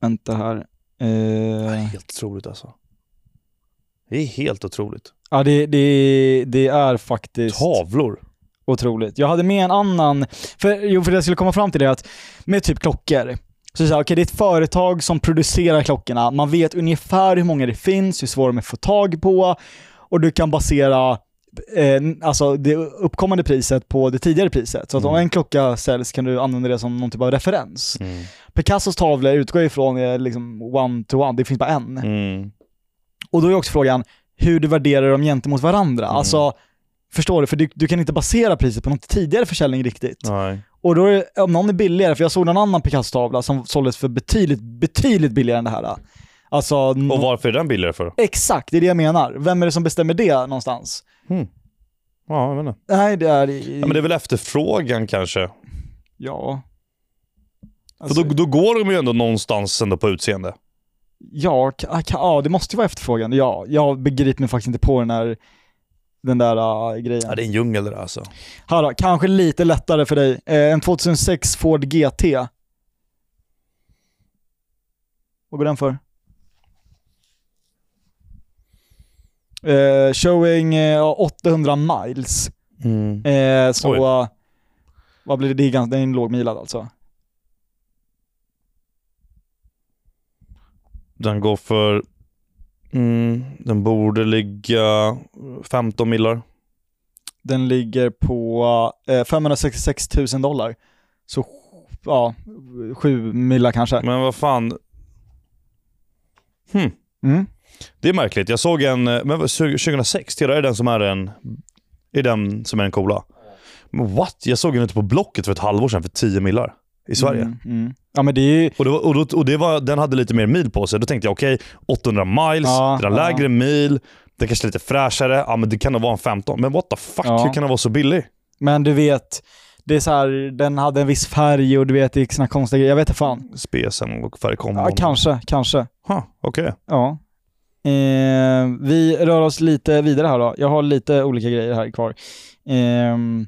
S2: Vänta här.
S1: Det är
S2: Eh,
S1: helt otroligt alltså. Det är helt otroligt.
S2: ja, det, det, det är faktiskt
S1: Tavlor.
S2: otroligt. Jag hade med en annan, för, jo, för jag skulle komma fram till det att med typ klockor, så är det, så här, okej, det är ett företag som producerar klockorna, man vet ungefär hur många det finns, hur svåra de är att få tag på och du kan basera eh, alltså det uppkommande priset på det tidigare priset. Så att om
S1: Mm.
S2: en klocka säljs kan du använda det som någon typ av referens. Picassos tavlor utgår ju från eh, liksom one to one, det finns bara en.
S1: Mm.
S2: Och då är också frågan hur du värderar dem gentemot varandra.
S1: Mm.
S2: Alltså, förstår du? För du, du kan inte basera priset på någon tidigare försäljning riktigt.
S1: Nej.
S2: Och då är, det- om någon är billigare, för jag såg någon annan Picasso-tavla som såldes för betydligt, betydligt billigare än det här. Alltså,
S1: Och
S2: nå-
S1: varför är den billigare för?
S2: exakt, det är det jag menar. Vem är det som bestämmer det någonstans?
S1: Ja, jag vet inte.
S2: Nej, det är...
S1: Ja, men det är väl efterfrågan kanske.
S2: ja.
S1: För
S2: Alltså,
S1: då, då går de ju ändå någonstans ändå på utseende.
S2: ja, ka, ka, ja, ah, det måste ju vara efterfrågan. Ja, jag begriper mig faktiskt inte på den här den där äh, grejen.
S1: Ja, det är en djungel det där alltså.
S2: Här då, kanske lite lättare för dig. Eh, en 2006 Ford GT. Vad går den för? Eh, showing eh, 800 miles.
S1: Mm.
S2: Eh, så... Vad blir det? Det är, ganska, det är en lågmilad alltså.
S1: Den går för... Mm, den borde ligga 15 millar.
S2: Den ligger på eh, 566 000 dollar. Så ja, sju millar kanske.
S1: Men vad fan.
S2: Mm.
S1: Det är märkligt. Jag såg en... eh, Men vad, 2006, det är den som är en... Är den som är den coola. Men what? Jag såg den ute på Blocket för ett halvår sedan för 10 millar. i Sverige.
S2: Mm, mm. Ja men det är ju,
S1: Och, det var, och, då, och det var, den hade lite mer mil på sig. Då tänkte jag okej, 800 miles,
S2: Ja,
S1: den har
S2: ja.
S1: lägre mil, den kanske är lite fräschare. Ja men det kan nog vara en 15. Men what the fuck,
S2: Ja.
S1: hur kan den vara så billig?
S2: men du vet, det är så här, den hade en viss färg och du vet, det gick såna konstiga grejer. Jag vet inte fan.
S1: Spesen och färgkombon.
S2: Ja, kanske, kanske.
S1: Huh, okej.
S2: Ja. Eh, vi rör oss lite vidare här då. Jag har lite olika grejer här kvar. Ehm.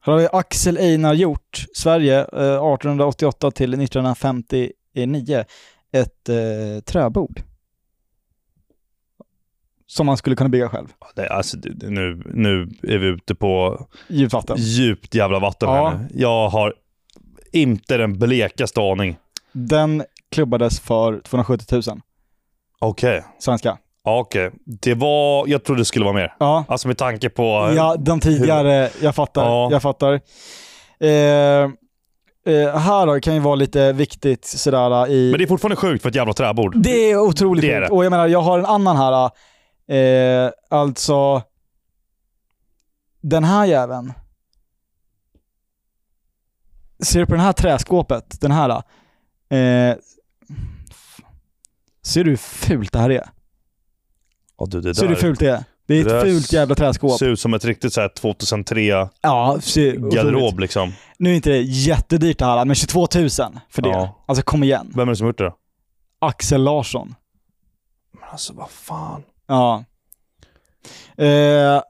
S2: här har vi Axel Einar Hjort, Sverige, eh, 1888 till 1959. Ett eh, träbord. Som man skulle kunna bygga själv.
S1: Det, alltså, det- det- nu, nu är vi ute på
S2: Djupt vatten.
S1: djupt jävla vatten
S2: Ja.
S1: här nu. Jag har inte den blekaste aning.
S2: Den klubbades för 270 000
S1: Okej.
S2: svenska.
S1: Ja, Okej. Det var... Jag trodde det skulle vara mer.
S2: Ja,
S1: Alltså med tanke på...
S2: Ja, de tidigare. Jag fattar.
S1: Ja.
S2: Jag fattar. Eh, eh, här då, kan ju vara lite viktigt sådär eh, i...
S1: Men det är fortfarande sjukt för ett jävla träbord.
S2: Det är otroligt
S1: Det är
S2: sjukt.
S1: det.
S2: Och jag menar, jag har en annan här. Eh, alltså... Den här jäveln. Ser du på den här träskåpet? Den här. Eh, ser du hur fult det här är?
S1: Ja, du, det
S2: Ser du hur
S1: där
S2: fult det är? Det är
S1: det
S2: ett
S1: där
S2: fult jävla träskåp.
S1: ser ut som ett riktigt så här 2003
S2: Ja, ser otroligt.
S1: garderob liksom.
S2: Nu är inte det jättedyrt det här, men 22 000 för det.
S1: Ja.
S2: Alltså kom igen.
S1: Vem är det som har gjort det då?
S2: Axel Larsson.
S1: Men alltså vad fan.
S2: Ja. Eh,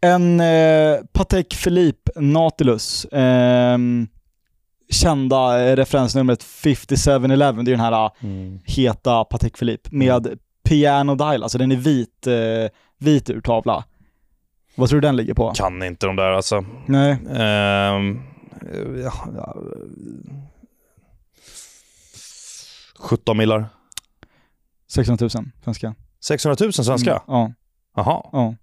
S2: en eh, Patek Philippe Nautilus. ehm, kända eh, referensnumret 5711. Det är den här ah,
S1: Mm.
S2: heta Patek Philippe med piano dial. Alltså den är vit, eh, vit ur tavla. Vad tror du den ligger på?
S1: Kan inte de där alltså.
S2: Nej.
S1: Ehm, ja, ja. 17 millar.
S2: 16 000 svenska. Mm,
S1: 600 000 svenska?
S2: Ja.
S1: Jaha.
S2: ja.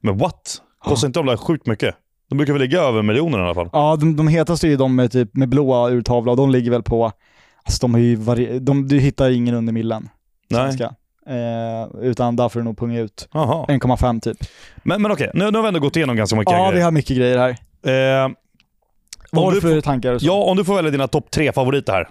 S1: Men what? Kostar inte de där sjukt mycket? De brukar väl ligga över miljonen i alla fall?
S2: Ja, de, de hetaste är ju de med, typ, med blåa urtavla och de ligger väl på... Alltså de har ju varie- de, Du hittar ingen under millen.
S1: Nej.
S2: svenska. Eh, utan där får du nog punga ut
S1: Jaha.
S2: 1,5 typ.
S1: Men, men okej, nu, nu har vi ändå gått igenom ganska mycket
S2: Ja, vi
S1: grejer.
S2: har mycket grejer här.
S1: Ehm,
S2: Vad har
S1: om,
S2: du
S1: du,
S2: för tankar? och så?
S1: ja, om du får välja dina topp tre favoriter här.
S2: Ehm,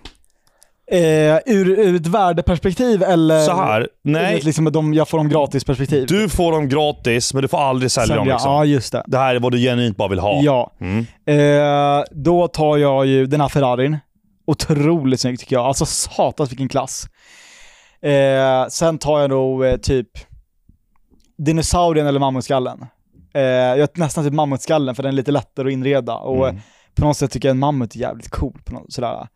S2: Eh, ur, ur ett värdeperspektiv eller?
S1: Så här.
S2: Ur
S1: Nej,
S2: ett Liksom de, jag får dem gratis perspektiv.
S1: Du får dem gratis, men du får aldrig sälja, dem. Liksom.
S2: Ja, just det.
S1: Det här är vad du genuint bara vill ha.
S2: Ja.
S1: Mm.
S2: Eh, då tar jag ju den här Ferrarin. Otroligt snygg tycker jag. Alltså satans vilken klass. Eh, sen tar jag nog eh, typ dinosaurien eller mammutskallen. Eh, jag nästan typ mammutskallen för den är lite lättare att inreda och
S1: Mm.
S2: på något sätt tycker jag en mammut är jävligt cool. På något, sådär.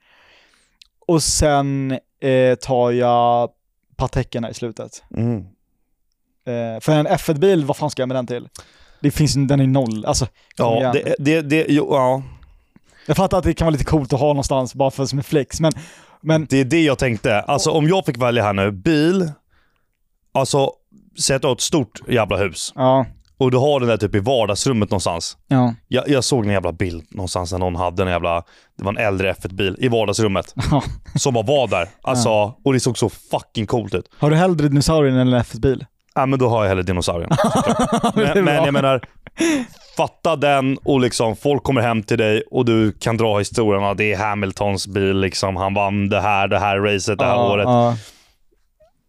S2: Och sen eh, tar jag Pateken här i slutet.
S1: Mm.
S2: Eh, för en F1-bil, vad fan ska jag med den till? Det finns ju- den är noll. Alltså, kom
S1: Ja,
S2: igen.
S1: det, det, det, jo, ja,
S2: Jag fattar att det kan vara lite coolt att ha någonstans bara för som en flex, men, men
S1: det är det jag tänkte. Alltså om jag fick välja här nu, bil, alltså säg att du har ett stort jävla hus
S2: ja.
S1: och du har den där typ i vardagsrummet någonstans.
S2: Ja.
S1: Jag, jag såg en jävla bild någonstans när någon hade en jävla, det var en äldre F1-bil i vardagsrummet som bara var där. Alltså, och det såg så fucking coolt ut.
S2: Har du hellre dinosaurien än en F1-bil?
S1: Ja, men då har jag hellre dinosaurien. såklart.
S2: Det är bra.
S1: men, men jag menar, fatta den och liksom folk kommer hem till dig och du kan dra historien. Ja, det är Hamiltons bil, liksom. han vann det här, det här racet det här året.
S2: Ja,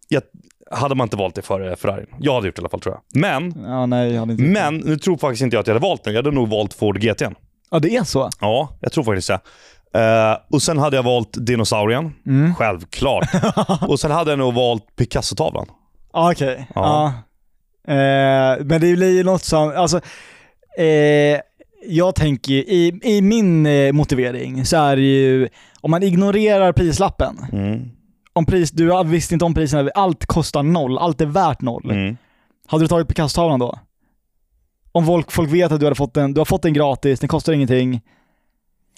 S1: Jag, hade man inte valt det före Ferrari. Jag hade gjort det i alla fall tror jag. Men,
S2: ja, nej, jag hade inte.
S1: men nu tror faktiskt inte jag att jag hade valt den. Jag hade nog valt Ford GT.
S2: Ja, det är så?
S1: Ja, jag tror faktiskt det. Eh, och sen hade jag valt dinosaurien. Självklart. och sen hade jag nog valt Picasso-tavlan.
S2: Ja, okej. Ja.
S1: Ja.
S2: Eh, men det blir ju något som, alltså, eh, jag tänker ju, i, i min eh, motivering så är det ju, om man ignorerar prislappen,
S1: Mm.
S2: om pris, du visste inte om priserna, allt kostar noll, allt är värt noll.
S1: Mm.
S2: Hade du tagit Picasso-tavlan då? Om folk, folk vet att du, hade fått den, du har fått den gratis, den kostar ingenting.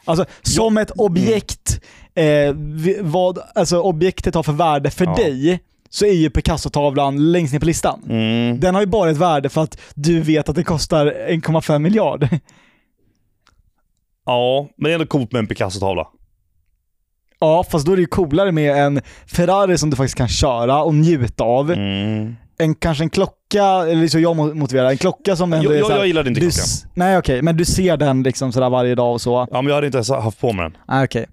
S2: Alltså som ett objekt, eh, vi- vad alltså, objektet har för värde för
S1: Ja.
S2: dig, så är ju Picasso-tavlan längst ner på listan.
S1: Mm.
S2: Den har ju bara ett värde för att du vet att den kostar 1,5 miljard.
S1: Ja, men det är ändå coolt med en Picasso-tavla.
S2: Ja, fast då är det ju
S1: Mm.
S2: Mm. coolare med en Ferrari som du faktiskt kan köra och njuta av. En, kanske en klocka klocka, eller så jag mo- motiverar, en klocka som ändå
S1: Jag,
S2: är
S1: jag,
S2: så här-
S1: jag gillade inte
S2: du,
S1: klockan.
S2: s- Nej okej, men du ser den liksom sådär varje dag och så.
S1: Ja, men jag hade inte ens haft på mig den.
S2: Ah, okej.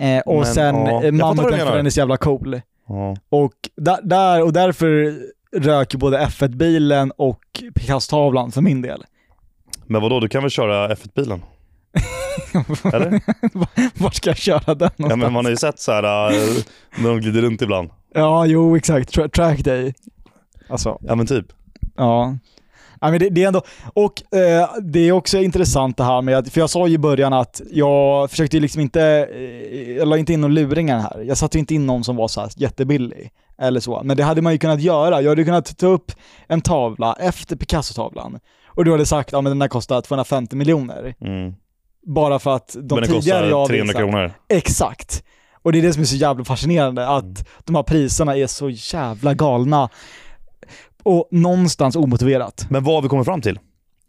S2: Eh, och
S1: Men,
S2: sen
S1: ja. Jag
S2: ja.
S1: fattar vad du
S2: mammuten
S1: menar.
S2: för den är så jävla cool.
S1: Ja.
S2: Och, da- där, och därför rök ju både F1-bilen och Picasso-tavlan för min del.
S1: Men vadå, du kan väl köra F1-bilen? Eller?
S2: Vart ska jag köra den
S1: Ja,
S2: någonstans?
S1: men man har ju sett så här eh, när de glider runt ibland.
S2: Ja, jo exakt. Tra- track day. Alltså,
S1: Ja, men typ.
S2: ja. ja men det, det är ändå, och eh, det är också intressant det här med att, för jag sa ju i början att jag försökte ju liksom inte, eh, jag la inte in några luringar här. Jag satte ju inte in någon som var så här jättebillig eller så. Men det hade man ju kunnat göra. Jag hade ju kunnat ta upp en tavla efter Picasso-tavlan och du hade sagt, ja men den här kostar 250 miljoner.
S1: Mm.
S2: Bara för att de
S1: men den
S2: tidigare jag
S1: kostar 300
S2: visat-
S1: kronor.
S2: Exakt. Och det är det som är så jävla fascinerande, att
S1: Mm.
S2: de här priserna är så jävla galna. Och någonstans omotiverat.
S1: Men vad har vi kommit fram till?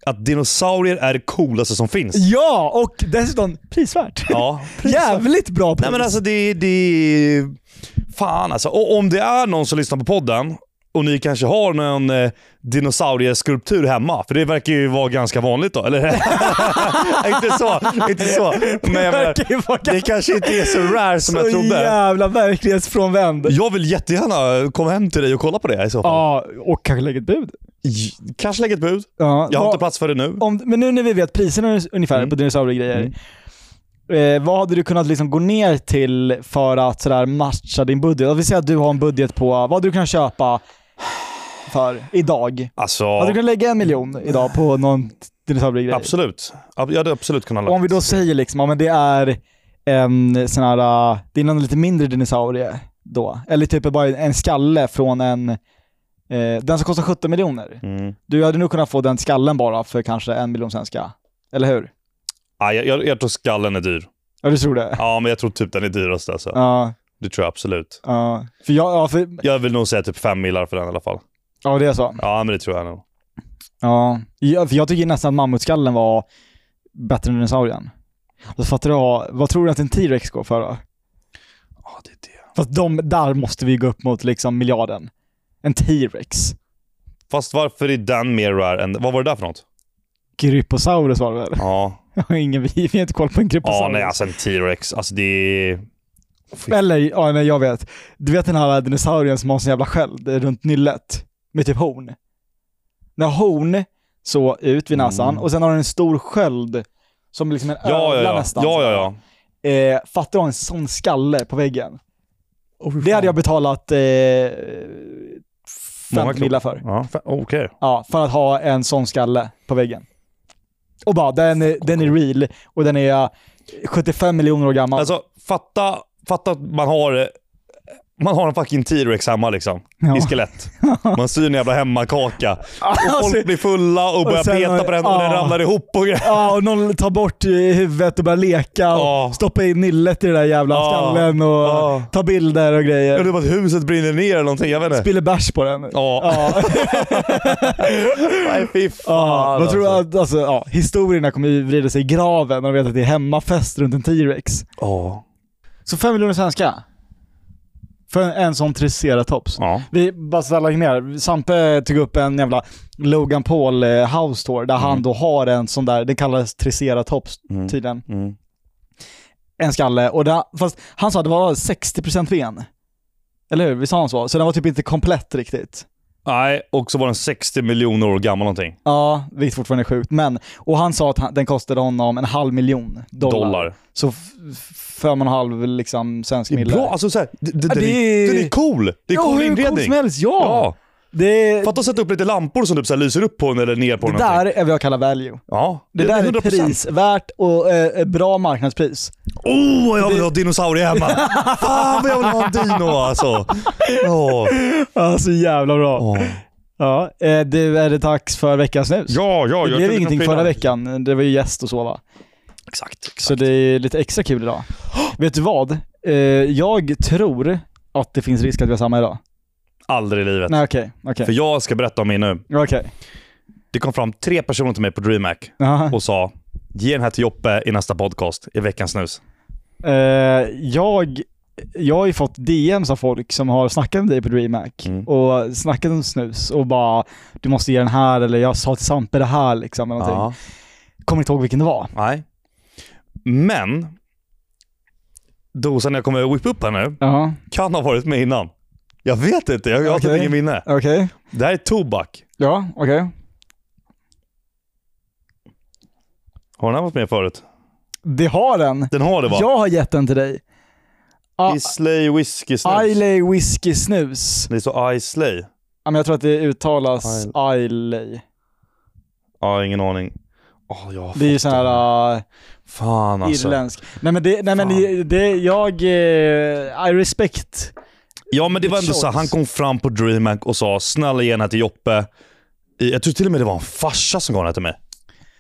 S1: Att dinosaurier är det coolaste som finns.
S2: Ja, och dessutom prisvärt.
S1: Ja,
S2: Jävligt bra pris.
S1: Nej men alltså det, det... Fan alltså. Och om det är någon som lyssnar på podden och ni kanske har någon eh, dinosaurieskulptur hemma, för det verkar ju vara ganska vanligt då, eller? inte så, inte så. Men jag menar,
S2: verkar ju vara
S1: det kanske inte är så rare som jag
S2: så
S1: trodde.
S2: jävla verklighetsfrånvänd. Ja,
S1: Jag vill jättegärna komma hem till dig och kolla på det i så fall.
S2: och kanske lägga ett bud.
S1: J- Kanske lägga ett bud.
S2: Ja,
S1: Jag har
S2: vad-
S1: inte plats för det nu.
S2: om, men nu när vi vet priserna ungefär
S1: Mm.
S2: på dinosauriegrejer, eh, vad hade du kunnat liksom gå ner till för att sådär matcha din budget? Om vi säger att du har en budget på, vad hade du kunnat köpa för idag?
S1: Alltså,
S2: Hade du kunnat lägga en miljon idag på någon dinosauriegrej?
S1: absolut. Ab- Jag hade absolut kunnat
S2: Och om vi då säger liksom, ja men det är en sån här, eh, det är någon lite mindre dinosaurie då. Eller typ bara en skalle från en, eh, den som kostar 17 miljoner.
S1: Mm.
S2: Du hade nog kunnat få den skallen bara för kanske en miljon svenska. Eller hur?
S1: Ah, jag, jag, jag tror skallen är dyr.
S2: Ja, du tror det?
S1: Ja, men jag tror typ den är dyrast alltså.
S2: Ja,
S1: Det tror jag absolut.
S2: ja. För jag, ja, för,
S1: Jag vill nog säga typ fem millar för den i alla fall.
S2: ja det är så.
S1: Ja, men det tror jag nog.
S2: Ja. Ja, för jag tycker nästan att mammutskallen var bättre än dinosaurien. Alltså, fattar du vad, vad tror du att en T-Rex går för då?
S1: Ja, det är det.
S2: Fast de, där måste vi gå upp mot liksom miljarden. En T-Rex.
S1: Fast varför är den mer rare än... Vad var det där för något?
S2: Gryposaurus var det väl?
S1: Ja,
S2: Jag har ingen, vi vi har inte koll på en
S1: ja
S2: gryposaurus.
S1: nej alltså en T-Rex. Alltså det är... Fy-
S2: Eller, ja nej jag vet. Du vet den här dinosaurien som har en sån jävla sköld runt nyllet? Med typ horn. När horn så ut vid näsan
S1: Mm.
S2: och sen har den en stor sköld som är liksom en
S1: Ja, ja,
S2: ögla
S1: ja.
S2: nästan.
S1: Ja, ja, ja.
S2: Eh, fattar du en sån skalle på väggen? Det hade jag betalat eh,
S1: Många
S2: 50 millar för.
S1: Ja, fa- okej.
S2: Ja, för att ha en sån skalle på väggen. Och bara, den är, den är real och den är 75 miljoner år gammal.
S1: Alltså fatta, fatta att man har... eh, Man har en fucking T-Rex hemma liksom.
S2: Ja.
S1: I skelett. Man syr en jävla hemmakaka. Och
S2: Alltså,
S1: folk blir fulla och börjar
S2: sen-
S1: peta på den och den
S2: ja.
S1: ramlar ihop och grejer.
S2: Ja, och någon tar bort eh, huvudet och börjar leka och
S1: Ja.
S2: stoppa in nillet i den där jävla
S1: Ja.
S2: skallen och
S1: Ja.
S2: ta bilder och
S1: Jag
S2: grejer.
S1: tror att huset brinner ner eller någonting. Jag vet inte.
S2: Spiller bärs på den.
S1: Ja.
S2: Ja.
S1: Nej, fy fan.
S2: Ja, vad tror du
S1: alltså.
S2: att, alltså, ja, historierna kommer ju vrida sig i graven när de vet att det är hemmafest runt en T-Rex.
S1: Ja.
S2: Så fem miljoner svenska? För en, en sån triceratops.
S1: Ja.
S2: Vi bara ställer ner. Sampe tog upp en jävla Logan Paul eh, house tour där han då har en sån där, det kallas triceratops
S1: Mm.
S2: tydligen.
S1: Mm.
S2: En skalle. Och där, fast han sa att det var 60% ben. Eller hur? Vi sa han så? Så den var typ inte komplett riktigt.
S1: Nej, och så var den 60 miljoner år gammal någonting.
S2: Ja, vilket fortfarande är sjukt. Men, och han sa att han, den kostade honom en halv miljon dollar.
S1: Dollar.
S2: Så f- f- fem och en halv liksom svensk
S1: Det är
S2: mille.
S1: bra, alltså såhär. Det, det,
S2: Ja,
S1: den,
S2: det
S1: är,
S2: är-
S1: den är cool. Det är
S2: Ja,
S1: cool
S2: hur coolt
S1: inredning.
S2: som helst, ja!
S1: ja.
S2: Det,
S1: Fatta att sätta upp lite lampor som typ så här lyser upp på en eller ner på
S2: det
S1: en någonting.
S2: där är vad jag kallar value.
S1: Ja.
S2: Det där är prisvärt och eh, bra marknadspris.
S1: Oh, jag vill ha dinosaurie hemma. Fan vad jag vill ha en dino alltså. Ja.
S2: Ja, så jävla bra.
S1: Ja.
S2: Ja, eh, du, är det dags för veckans snus?
S1: Ja, ja.
S2: det
S1: jag
S2: blev
S1: tog
S2: ingenting
S1: en
S2: förra
S1: pilla.
S2: veckan. Det var ju gäst och så va?
S1: Exakt, exakt.
S2: Så det är lite extra kul idag. Vet du vad? Eh, jag tror att det finns risk att vi har samma idag.
S1: Aldrig i livet.
S2: Nej okej, okej.
S1: För jag ska berätta om min nu.
S2: Okej.
S1: Det kom fram tre personer till mig på DreamHack
S2: Jaha.
S1: och sa Ge den här till Joppe i nästa podcast, i veckans snus.
S2: Eh, jag jag har ju fått DMs av folk som har snackat med dig på DreamHack
S1: Mm.
S2: och snackat om snus och bara du måste ge den här eller jag sa till Sampe det här liksom eller någonting.
S1: Ja.
S2: Kommer inte ihåg vilken det var.
S1: Nej. Men dosan jag kommer whippa upp här nu
S2: Ja,
S1: kan ha varit med innan. Jag vet inte, jag har typ
S2: Okej.
S1: ingen minne.
S2: okej.
S1: Det här är tobak.
S2: Ja, okej.
S1: Har den här varit med förut?
S2: Det har den.
S1: Den har det va?
S2: Jag har gett den till dig. Ah,
S1: Islay whisky snus.
S2: Islay Whiskey Snus.
S1: Det står Islay.
S2: Ja, men jag tror att det uttalas Islay.
S1: Ja, ingen aning. Åh, jag har
S2: Det är ju
S1: fått
S2: sån
S1: den.
S2: här äh,
S1: Fan alltså.
S2: irländsk. Nej men det, nej men det, det jag, eh, I respect.
S1: Ja, men det var ändå
S2: Choice.
S1: så här, Han kom fram på DreamHack och sa “Snälla ge den här till Joppe”. I- Jag tror till och med det var en farsa som gav den här till mig.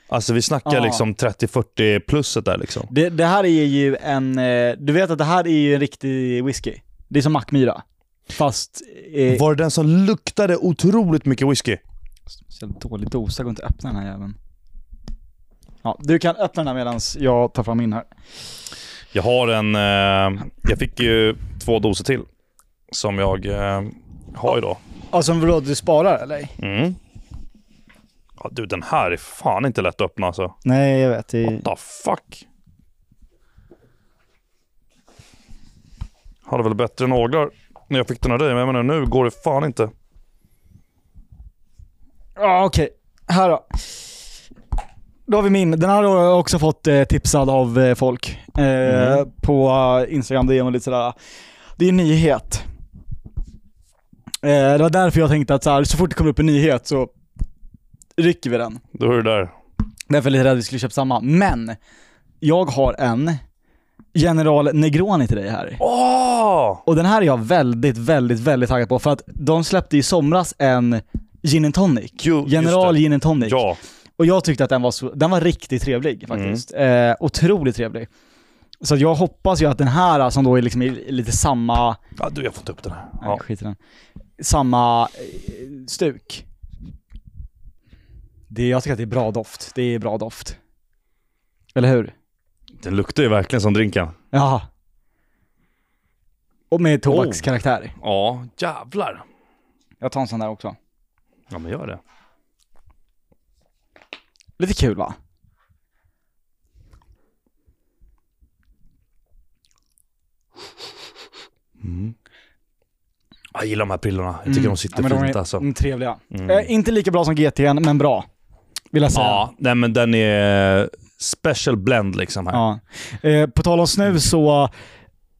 S1: Alltså vi snackar
S2: Ja.
S1: liksom 30-40 plusset där liksom.
S2: Det, det här är ju en, eh, du vet att det här är ju en riktig whisky. Det är som Mackmyra. Fast... Eh,
S1: Var det den som luktade otroligt mycket whisky?
S2: så jävla dålig dosa, går inte att öppna den här jäveln. Ja, du kan öppna den här medan jag tar fram min här.
S1: Jag har en... Eh, jag fick ju två doser till. Som jag eh, har idag.
S2: Alltså vadå, du sparar eller?
S1: Mm. Ja, du, den här är fan inte lätt att öppna alltså.
S2: Nej jag vet, det är...
S1: What the fuck? Hade väl bättre naglar när jag fick den av dig, men jag menar, nu går det fan inte.
S2: Ja okej, här då. Då har vi min. Den här har jag också fått eh, tipsad av eh, folk. Eh,
S1: Mm.
S2: På eh, Instagram DM och lite sådär. Det är en nyhet. Eh, det var därför jag tänkte att så, här, så fort det kommer upp en nyhet så rycker vi den.
S1: Då är det där.
S2: Därför är jag lite rädd att vi skulle köpa samma. Men, jag har en General Negroni till dig här.
S1: Åh!
S2: Och den här är jag väldigt, väldigt, väldigt taggad på för att de släppte i somras en Gin and Tonic.
S1: Jo, just
S2: General
S1: det.
S2: Gin and Tonic.
S1: Ja. Mm.
S2: Och jag tyckte att den var, så, den var riktigt trevlig faktiskt. Eh, otroligt trevlig. Så att jag hoppas ju att den här som då är liksom i- i lite samma,
S1: ja. Du, jag får inte upp den här.
S2: nej,
S1: Ja.
S2: skit i den, samma eh, stuk. Det, jag tycker att det är bra doft. Det är bra doft. Eller hur?
S1: Den luktar ju verkligen som drinken.
S2: Ja. Och
S1: Oh.
S2: med tobakskaraktär.
S1: Ja, jävlar.
S2: Jag tar en sån där också.
S1: Ja, men gör det.
S2: Lite kul va?
S1: Jag gillar de här prillorna. Jag tycker de sitter
S2: Mm. Ja, men de
S1: fint
S2: är
S1: alltså.
S2: mm, trevliga. Eh, inte lika bra som GT'n, men bra. Vill jag säga.
S1: Ja, nej men den är special blend liksom här.
S2: Ja. Eh, på tal om snus så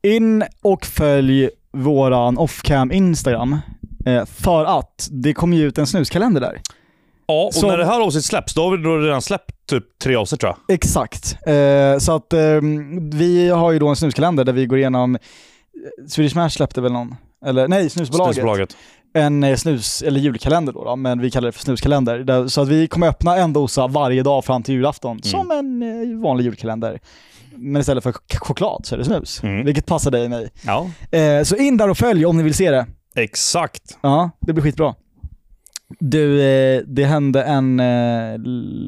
S2: in och följ våran offcam Instagram. Eh, för att det kommer ju ut en snuskalender där.
S1: Ja, och
S2: Så-
S1: när det här avsnittet släpps, då har vi då redan släppt typ tre avsnitt tror jag.
S2: Exakt. Eh, så att eh, vi har ju då en snuskalender där vi går igenom, eh, Swedish Match släppte väl någon? Eller nej, snusbolaget.
S1: Snusbolaget.
S2: En eh, snus, eller julkalender då, då, men vi kallar det för snuskalender. Där, så att vi kommer öppna en dosa varje dag fram till julafton, som en eh, vanlig julkalender. Men istället för ch- choklad så är det snus,
S1: Mm.
S2: vilket passar dig och mig.
S1: Ja.
S2: Eh, så in där och följ om ni vill se det.
S1: Exakt.
S2: Ja, det blir skitbra. Du, eh, det hände en eh,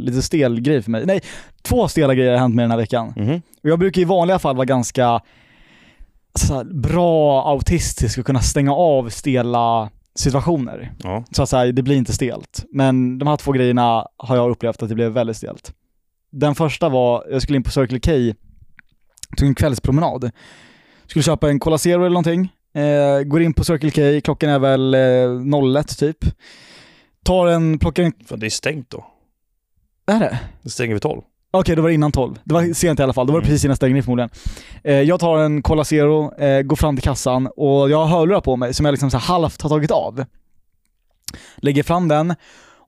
S2: lite stel grej för mig. Nej, två stela grejer har hänt mig den här veckan.
S1: Mhm.
S2: Och Jag brukar i vanliga fall vara ganska så här, bra autistisk och kunna stänga av stela situationer.
S1: Ja.
S2: Så att säga, det blir inte stelt. Men de här två grejerna har jag upplevt att det blev väldigt stelt. Den första var, jag skulle in på Circle K, tog en kvällspromenad. Skulle köpa en Cola Zero eller någonting. Eh, går in på Circle K, klockan är väl eh, 01 typ. Tar en, plockar en,
S1: För det är stängt då.
S2: är det?
S1: Det stänger vid tolv.
S2: Okej, då var det innan 12. Det var sent i alla fall. Då var det
S1: Mm.
S2: precis innan stängning förmodligen. Eh, jag tar en Cola Zero, eh, går fram till kassan och jag har hörlurar på mig som jag liksom så här halvt har tagit av. Lägger fram den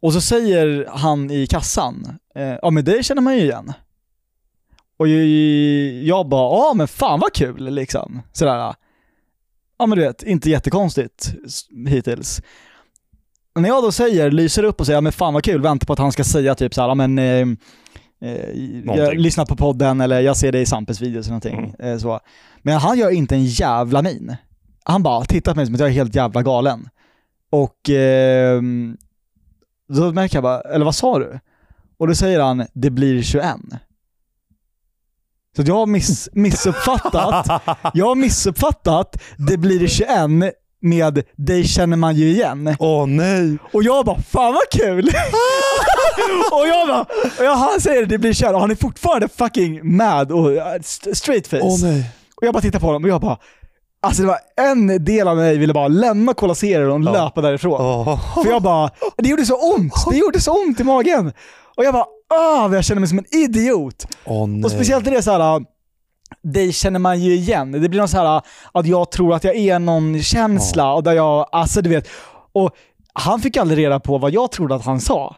S2: och så säger han i kassan, eh, ja men det känner man ju igen. Och jag- jag bara, ja men fan vad kul liksom. Sådär. Ja men du vet, inte jättekonstigt s- hittills. Och När jag då säger, lyser upp och säger, ja men fan vad kul, väntar på att han ska säga typ såhär, ja men eh, eh, jag
S1: Någonting.
S2: lyssnar på podden eller jag ser dig i Sampes videos eller någonting. Eh, så. Men han gör inte en jävla min. Han bara tittar på mig som att jag är helt jävla galen. Och ehm, då märker jag bara, eller vad sa du? Och då säger han, det blir 21. Så att jag har miss, missuppfattat. jag har missuppfattat det blir det 21 med dig känner man ju igen.
S1: Åh nej!
S2: Och jag bara fan vad kul! och jag bara, och jag, han säger det blir 21 och han är fortfarande fucking mad och eh, st- straight face.
S1: Åh nej.
S2: Och jag bara tittar på honom och jag bara, alltså det var en del av mig ville bara lämna Cola Zero och
S1: Ja.
S2: löpa därifrån.
S1: Åh.
S2: För jag bara, det gjorde så ont, det gjorde så ont i magen. Och jag bara, ah, vad jag känner mig som en idiot.
S1: Åh, nej.
S2: Och speciellt är det så här. dig känner man ju igen. Det blir någon så här att jag tror att jag är någon känsla och där jag, alltså du vet. Och han fick aldrig reda på vad jag trodde att han sa.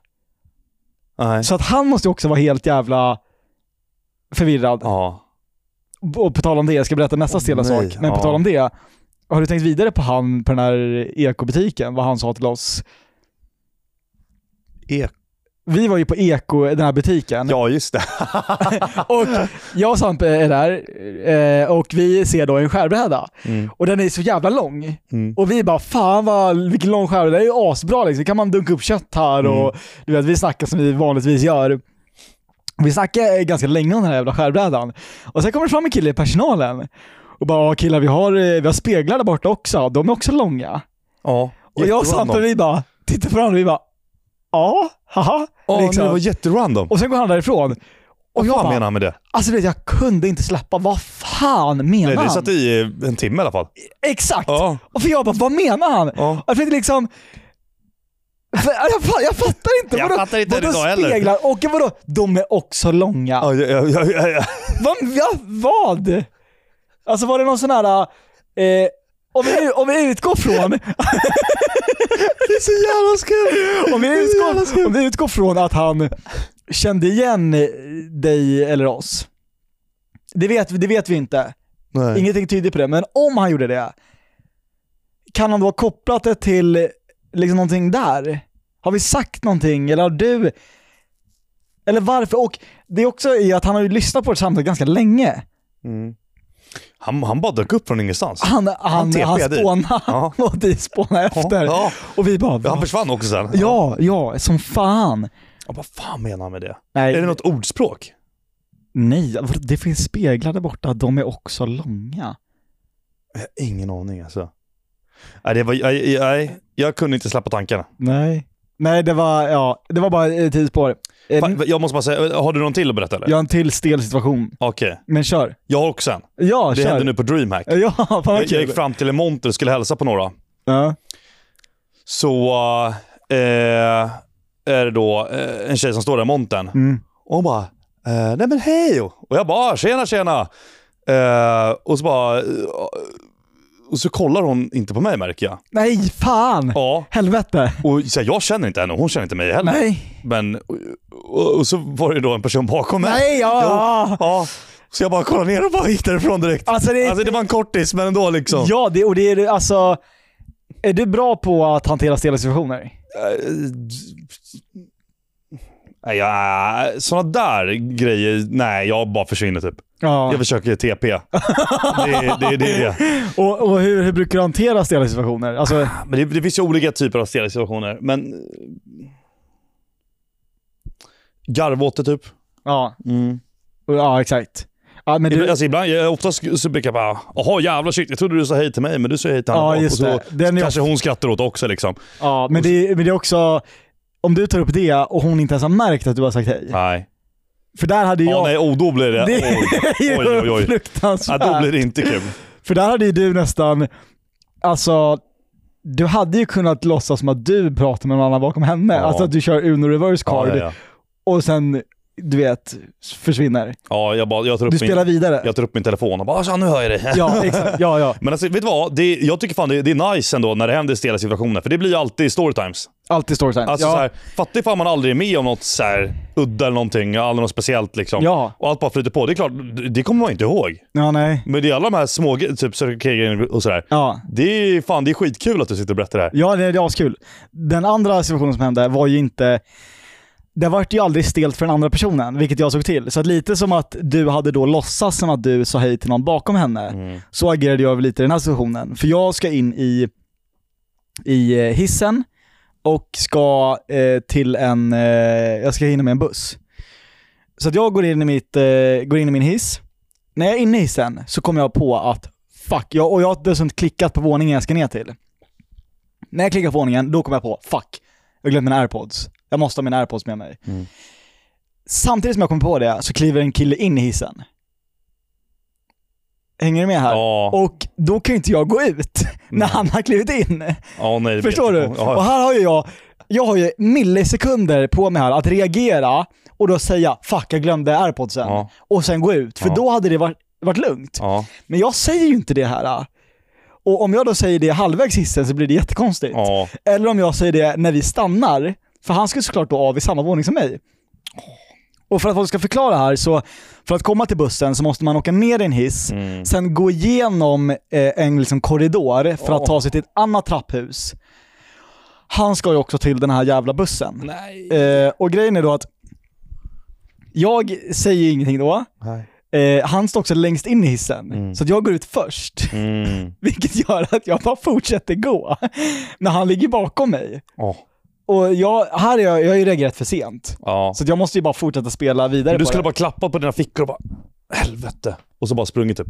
S1: Nej.
S2: Så att han måste ju också vara helt jävla förvirrad.
S1: Ja.
S2: Och på tal om det, jag ska berätta nästa stela
S1: nej.
S2: sak, men på
S1: Ja.
S2: tal om det. Har du tänkt vidare på han på den här ekobutiken, vad han sa till oss?
S1: Ek.
S2: Vi var ju på eko, den här butiken.
S1: Ja, just det.
S2: Och jag och Sampe är där eh, och vi ser då en skärbräda.
S1: Mm.
S2: Och den är så jävla lång.
S1: Mm.
S2: Och vi bara fan vad, vilken lång skärbräda, det är ju asbra liksom. kan man dunka upp kött här och
S1: Mm.
S2: du vet, vi snackar som vi vanligtvis gör. Vi snackade ganska länge om den här jävla skärbrädan. Och sen kommer det fram en kille i personalen och bara "Ja, killar vi har, eh, vi har speglar där borta också, de är också långa.
S1: Ja.
S2: Och jag och Sampe vi bara tittar på varandra vi bara ja, haha.
S1: Åh, nej,
S2: liksom.
S1: det var jätterandom.
S2: Och sen går han därifrån. Och
S1: Vad
S2: jag
S1: fan
S2: bara,
S1: menar han med det?
S2: Alltså du vet, jag kunde inte släppa. Vad fan menar
S1: Nej, det
S2: han?
S1: satt i eh, en timme i alla fall.
S2: Exakt!
S1: Ja.
S2: Och för jag bara, vad menar han?
S1: Ja.
S2: Jag försökte liksom... För- Jag, fa- jag fattar inte.
S1: Jag fattar inte
S2: vadå
S1: det idag heller.
S2: speglar? Och vadå, de är också långa.
S1: Ja, ja, ja, ja, ja.
S2: Vad? Ja, vad? Alltså var det någon sån här... Eh, om, vi, om vi utgår från...
S1: Det är så jävla skumt!
S2: Om vi utgår, om vi utgår från att han kände igen dig eller oss. Det vet, det vet vi inte.
S1: Nej.
S2: Ingenting tyder på det, men om han gjorde det, kan han då ha kopplat det till liksom någonting där? Har vi sagt någonting eller har du... Eller varför? Och det är också i att han har ju lyssnat på ett samtal ganska länge.
S1: Mm. Han, han bara dök upp från ingenstans.
S2: Han, han, han,
S1: TP'ade dit.
S2: spånade
S1: Ja.
S2: och vi spånade efter.
S1: Ja,
S2: Och vi bara
S1: ja. Han
S2: va?
S1: försvann också sen.
S2: Ja, ja, som fan.
S1: Ja, Vad fan menar han med det?
S2: Nej,
S1: Är det något ordspråk?
S2: nej, det finns speglar där borta. De är också långa.
S1: Jag har ingen aning alltså. Nej, det var, nej, nej, jag kunde inte släppa tankarna.
S2: Nej. Nej, det var, ja, det var bara ett tidsspår. Eh,
S1: Fan, Jag måste bara säga, har du någon till att berätta eller?
S2: Jag har en till stel situation.
S1: Okej,
S2: Men kör.
S1: jag har också en.
S2: Ja,
S1: Det
S2: kör.
S1: hände nu på DreamHack.
S2: Ja, fan
S1: Jag,
S2: vad
S1: jag
S2: kul.
S1: gick fram till en monter och skulle hälsa på några.
S2: Ja.
S1: Så eh, är det då eh, en tjej som står där i montern.
S2: Mm.
S1: Och hon bara, eh, nej men hej! Och jag bara, "Ah, tjena tjena! Eh, och så bara, eh, och så kollar hon inte på mig märker jag.
S2: Nej, fan!
S1: Ja,
S2: Helvete.
S1: och så här, jag känner inte henne och hon känner inte mig heller.
S2: Nej.
S1: Men, och, och, och så var det då en person bakom mig.
S2: Nej, ja. ja.
S1: Ja, så jag bara kollade ner och bara gick därifrån direkt.
S2: Alltså det,
S1: Alltså det var en kortis, men ändå liksom.
S2: ja, det, och det är alltså... Är du bra på att hantera stela situationer?
S1: Eh, Nej, Eh, ja, sådana där grejer, nej jag bara försvinner typ. Jag
S2: Ja.
S1: försöker TP. Det, är- det, är- det är det.
S2: Och, och hur, hur brukar du hantera stela situationer? Alltså,
S1: Men det, det finns ju olika typer av stela situationer. Men... eh, Garva åt det typ.
S2: ja. Och- Ja, exakt. Ja, men
S1: Ibland,
S2: du,
S1: alltså, ibland, jag, oftast så brukar jag bara, jaha jävlar "Ah, shit, jag trodde du sa hej till mig men du sa hej till
S2: Ja,
S1: honom. Och
S2: just
S1: så
S2: det. Den är
S1: kanske hon skrattar åt också liksom.
S2: ja, men, det, men det är också... Om du tar upp det och hon inte ens har märkt att du har sagt hej.
S1: Nej.
S2: För där hade
S1: Ja,
S2: jag...
S1: nej, oh, då blir det,
S2: det
S1: oj.
S2: är ju
S1: Oj, oj, oj. Ja,
S2: fruktansvärt.
S1: då blir det inte kul.
S2: För där hade ju du nästan, alltså, du hade ju kunnat låtsas som att du pratar med någon annan bakom henne.
S1: Ja.
S2: Alltså att du kör Uno reverse
S1: Ja,
S2: card
S1: ja, ja.
S2: och sen, du vet, försvinner.
S1: ja jag, bara, jag, tar upp
S2: Du
S1: min,
S2: spelar vidare.
S1: jag tar upp min telefon och bara, "Tja, nu hör jag dig.
S2: Ja, exakt. Ja, ja.
S1: Men alltså, vet du vad? Det, jag tycker fan det, det är nice ändå när det händer stela situationer, för det blir ju alltid storytimes.
S2: Alltid storytime.
S1: Alltså
S2: ja.
S1: så här, fattig fan man aldrig är med om något så här, udda eller någonting, aldrig något speciellt liksom.
S2: ja.
S1: Och allt bara flyter på. Det är klart, det kommer man inte ihåg.
S2: Ja, nej.
S1: Men det är alla de här små gre- typ Circle K-grejerna och sådär.
S2: Ja.
S1: Det är fan, det är skitkul att du sitter och berättar det här.
S2: Ja, det, det är askul. Den andra situationen som hände var ju inte... Det vart ju aldrig stelt för den andra personen, vilket jag såg till. Så att lite som att du hade då låtsas som att du sa hej till någon bakom henne, så agerade jag väl lite i den här situationen. För jag ska in i, i eh, hissen och ska eh, till en... Eh, jag ska hinna med en buss. Så att jag går in i, mitt, eh, går in i min hiss när jag är inne i hissen så kommer jag på att fuck, jag, och jag har dessutom klickat på våningen jag ska ner till. När jag klickar på våningen, då kommer jag på fuck, jag har glömt mina airpods. Jag måste ha mina airpods med mig.
S1: Mm.
S2: Samtidigt som jag kommer på det så kliver en kille in i hissen. Hänger du med här?
S1: Ja,
S2: Och då kan ju inte jag gå ut när
S1: Nej.
S2: han har klivit in.
S1: ja nej. det
S2: Förstår du?
S1: vet jag.
S2: Och
S1: Ja,
S2: här har ju jag, jag har ju millisekunder på mig här att reagera och då säga “fuck, jag glömde airpodsen”
S1: ja,
S2: och sen gå ut, för
S1: Ja.
S2: då hade det varit, varit lugnt.
S1: ja,
S2: Men jag säger ju inte det här. Och om jag då säger det halvvägs hissen så blir det jättekonstigt.
S1: ja.
S2: Eller om jag säger det när vi stannar, för han ska ju såklart då av i samma våning som mig. Och för att folk ska förklara här, så för att komma till bussen så måste man åka ner i en hiss,
S1: Mm.
S2: sen gå igenom eh, en liksom korridor för att ta sig till ett annat trapphus. Han ska ju också till den här jävla bussen.
S1: Nej.
S2: Eh, och grejen är då att jag säger ju ingenting då. Eh, han står också längst in i hissen,
S1: Mm.
S2: så att jag går ut först.
S1: Mm.
S2: Vilket gör att jag bara fortsätter gå när han ligger bakom mig.
S1: Ja.
S2: Och jag, här är jag, jag har ju reagerat för sent.
S1: ja.
S2: Så att jag måste ju bara fortsätta spela vidare
S1: Du
S2: på
S1: skulle
S2: det.
S1: bara klappa på dina fickor och bara helvete. Och så bara sprungit upp.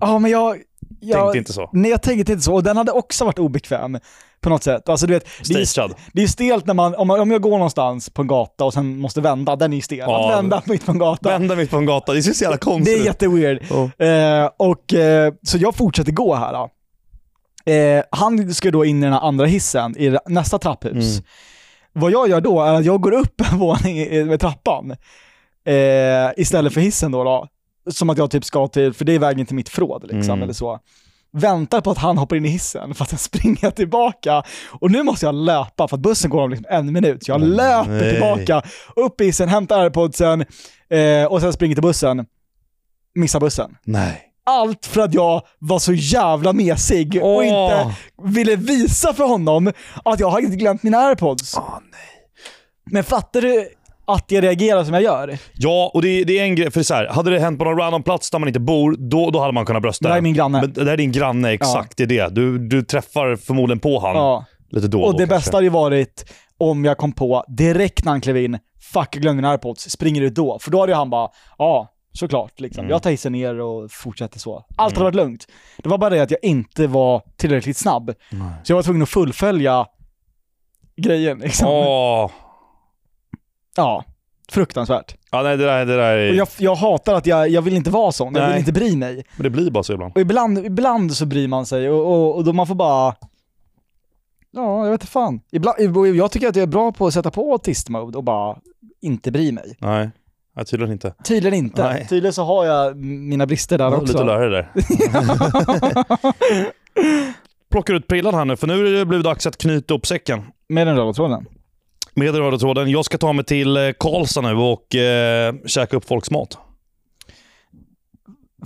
S2: Ja, men jag... jag
S1: Tänkte inte så.
S2: Nej, jag tänkte inte så. Och den hade också varit obekväm på något sätt. Alltså du vet, det är, ju-
S1: Stagead.
S2: det är ju stelt när man, om, man- om jag går någonstans på en gata och sen måste vända, den är ju stel.
S1: Ja.
S2: Att vända mitt på en gata,
S1: Vända mitt på en gata. Det ser så jävla
S2: det
S1: konstigt
S2: är
S1: ut.
S2: jätteweird.
S1: Ja.
S2: Eh, och, eh, så jag fortsätter gå här. Då. Eh, han ska då in i den här andra hissen i ra- nästa trapphus.
S1: Mm.
S2: Vad jag gör då är att jag går upp en våning i- med trappan eh, istället för hissen då, då. Som att jag typ ska till, för det är vägen till mitt förråd liksom,
S1: Mm.
S2: eller så. Väntar på att han hoppar in i hissen för att sen springer jag tillbaka. Och nu måste jag löpa för att bussen går om liksom en minut. Jag
S1: Nej.
S2: löper tillbaka, upp i hissen, hämtar airpodsen eh, och sen springer till bussen. Missar bussen.
S1: Nej.
S2: Allt för att jag var så jävla mesig och
S1: Åh.
S2: inte ville visa för honom att jag hade glömt mina airpods.
S1: Åh, nej.
S2: Men fattar du att jag reagerar som jag gör?
S1: Ja, och det, det är en grej. För så här, hade det hänt på någon random plats där man inte bor, då, då hade man kunnat brösta
S2: Det här är
S1: den.
S2: min granne.
S1: Men det här är din granne, exakt. Det är det. Du, du träffar förmodligen på han
S2: ja.
S1: lite då
S2: Och
S1: då
S2: det
S1: Mm. kanske.
S2: bästa hade ju varit om jag kom på direkt när han klev in, fuck jag glömde mina airpods, springer ut då? För då hade ju han bara, ja såklart liksom.
S1: Mm.
S2: Jag tar hissen ner och fortsätter så. Allt hade varit lugnt. Det var bara det att jag inte var tillräckligt snabb.
S1: Nej.
S2: Så jag var tvungen att fullfölja grejen liksom.
S1: Åh.
S2: Ja, fruktansvärt.
S1: Ja, nej, det där, det där är...
S2: Och jag, jag hatar att jag, jag vill inte vara sån, jag vill
S1: Nej.
S2: inte bry mig.
S1: Men det blir bara så ibland.
S2: Och ibland, ibland så bryr man sig och, och, och då man får bara... Ja, jag vet inte fan. Ibland, och jag tycker att jag är bra på att sätta på autist-mode och bara inte bry mig.
S1: Nej, ja, tydligen inte.
S2: Tydligen inte.
S1: Nej.
S2: Tydligen så har jag m- mina brister där
S1: Jag har
S2: också.
S1: lite att lära dig där. Plockar ut prillan här nu, för nu är det blivit dags att knyta upp säcken.
S2: Med den röda tråden.
S1: Med den röda tråden. Jag ska ta mig till eh, Karlstad nu och eh, käka upp folks mat.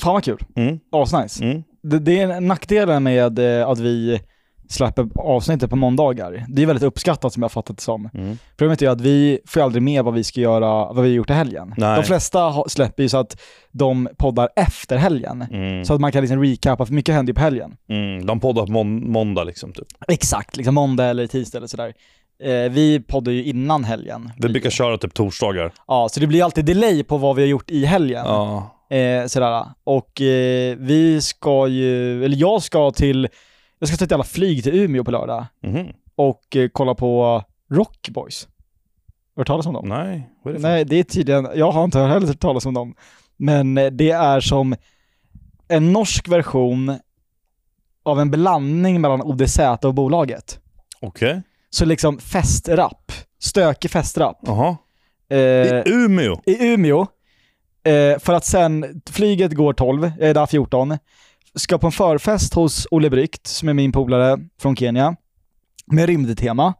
S2: Fan vad kul.
S1: Mm,
S2: Asnice.
S1: mm.
S2: Det, det är en- nackdelen med eh, att vi släpper avsnittet på måndagar. Det är väldigt uppskattat som jag har fattat det som.
S1: Mm.
S2: Problemet är ju att vi får ju aldrig med vad vi ska göra, vad vi har gjort i helgen.
S1: Nej.
S2: De flesta ha- släpper ju så att de poddar efter helgen.
S1: Mm.
S2: Så att man kan liksom recapa, för mycket händer ju på helgen.
S1: Mm. De poddar på mån- måndag liksom. Typ.
S2: Exakt, liksom måndag eller tisdag eller sådär. Eh, vi poddar ju innan helgen.
S1: Vi brukar köra typ torsdagar.
S2: Ja, så det blir alltid delay på vad vi har gjort i helgen.
S1: Ja.
S2: Eh, sådär. Och eh, vi ska ju, eller jag ska till, jag ska ta ett jävla flyg till Umeå på lördag
S1: Mhm.
S2: och eh, kolla på Rockboys. Har du hört talas om dem?
S1: Nej, vad är Mm, det för
S2: Nej, det är tydligen, jag har inte heller hört talas om dem. Men eh, det är som en norsk version av en blandning mellan ODZ och bolaget.
S1: Okej.
S2: Så liksom festrapp, stökig festrapp.
S1: Jaha.
S2: Eh,
S1: I Umeå.
S2: I Umeå, eh, för att sen, flyget går eh, 12, jag är där 14, ska på en förfest hos Olle Brykt, som är min polare från Kenya, med rymdtema.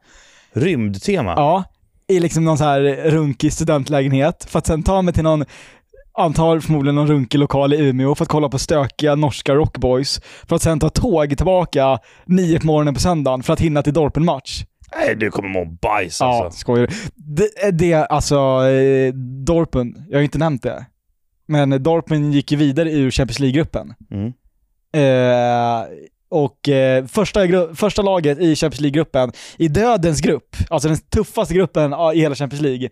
S1: Rymdtema.
S2: Ja, i liksom någon så här runkig studentlägenhet för att sen ta mig till någon antar förmodligen någon runkig lokal i Umeå för att kolla på stökiga norska rockboys för att sen ta tåg tillbaka nio på morgonen på söndagen för att hinna till Dorpen-match.
S1: Nej, du kommer må bajs
S2: Ja,
S1: alltså.
S2: skojar det, det, alltså, eh, Dorpen, jag har ju inte nämnt det, men Dorpen gick ju vidare ur Champions League-gruppen.
S1: Mm.
S2: Eh, Och eh, första, gru- första laget i Champions League-gruppen, i dödens grupp, alltså den tuffaste gruppen ah, i hela Champions League,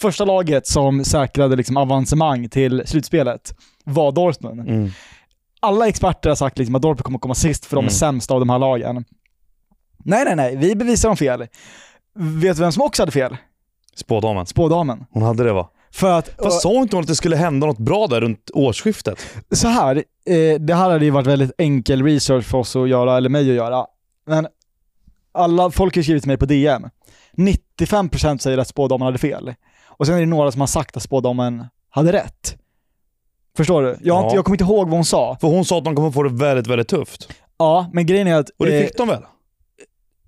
S2: första laget som säkrade liksom avancemang till slutspelet var Dortmund.
S1: Mm.
S2: Alla experter har sagt liksom att Dortmund kommer komma sist för de är
S1: Mm.
S2: sämst av de här lagen. Nej, nej, nej. Vi bevisar dem fel. Vet du vem som också hade fel?
S1: Spådamen.
S2: Spådamen.
S1: Hon hade det va?
S2: För att...
S1: Fast sa inte hon att alltså- det skulle hända något bra där runt årsskiftet?
S2: så här, eh, det här hade ju varit väldigt enkel research för oss att göra, eller mig att göra. Men alla, folk har skrivit till mig på DM. 95% säger att spådamen hade fel. Och sen är det några som har sagt att spådamen hade rätt. Förstår du? Jag, har
S1: Ja.
S2: inte, jag kommer inte ihåg vad hon sa.
S1: För hon sa att de kommer få det väldigt, väldigt tufft.
S2: Ja, men grejen är att...
S1: Och det
S2: eh,
S1: fick de väl?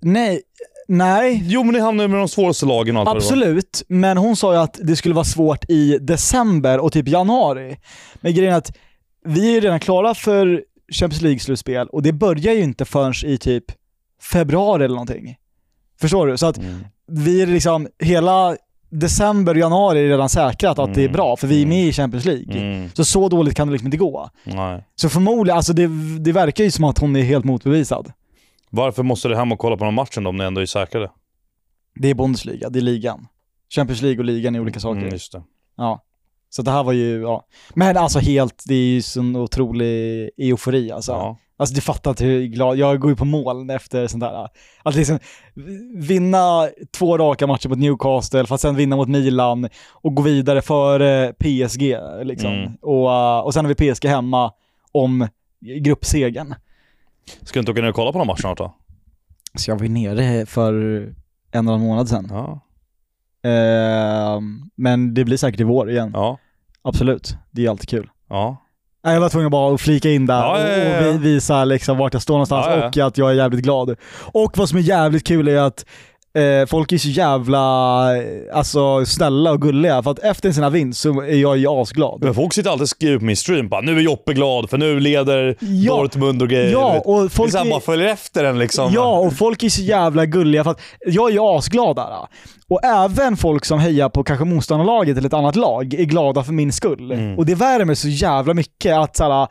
S2: nej, nej,
S1: Jo, men ni hamnade med de svåraste lagen och allt vad det var.
S2: Absolut, men hon sa ju att det skulle vara svårt i december och typ januari. Men grejen är att vi är ju redan klara för Champions League-slutspel och det börjar ju inte förrän i typ februari eller någonting. Förstår du? Så att
S1: Mm.
S2: vi är liksom, hela december och januari är redan säkrat att det är
S1: Mm.
S2: bra för vi är med i Champions League.
S1: Mm.
S2: Så så dåligt kan det liksom inte gå.
S1: Nej.
S2: Så förmodligen, alltså det, det verkar ju som att hon är helt motbevisad.
S1: Varför måste du hem och kolla på den matchen då om ni ändå är säkrade?
S2: Det är Bundesliga, det är ligan. Champions League och ligan är olika saker.
S1: Mm, just det.
S2: Ja. Så det här var ju, ja. Men alltså helt, det är ju sån otrolig eufori alltså.
S1: Ja.
S2: Alltså du fattar inte hur glad, jag går ju på moln efter sånt där. Att liksom vinna två raka matcher mot Newcastle, för att sen vinna mot Milan och gå vidare före PSG liksom.
S1: Mm.
S2: Och, eh, och sen har vi PSG hemma om gruppsegern.
S1: Ska du inte åka ner och kolla på den matchen snart då?
S2: Så jag var ju nere för en och en månad sedan.
S1: Ja.
S2: Eh, men det blir säkert i vår igen.
S1: Ja.
S2: Absolut, det är alltid kul.
S1: Ja.
S2: Nej, Jag var tvungen bara att flika in där
S1: Ja, ja, ja, ja.
S2: och vi- visa liksom vart jag står någonstans
S1: Ja, ja.
S2: och att jag är jävligt glad. Och vad som är jävligt kul är att eh, folk är så jävla eh, alltså, snälla och gulliga för att efter en sån här vinst så är jag ju asglad.
S1: Men folk sitter alltid och skriver på min stream bara “Nu är Joppe glad för nu leder
S2: Ja.
S1: Dortmund och grejer”.
S2: Ja, och
S1: folk
S2: folk
S1: liksom, bara
S2: är,
S1: följer efter en liksom.
S2: ja, och folk är så jävla gulliga för att jag är ju asglad där. Och även folk som hejar på kanske motståndarlaget eller ett annat lag är glada för min skull.
S1: Mm.
S2: Och det värmer så jävla mycket att så här,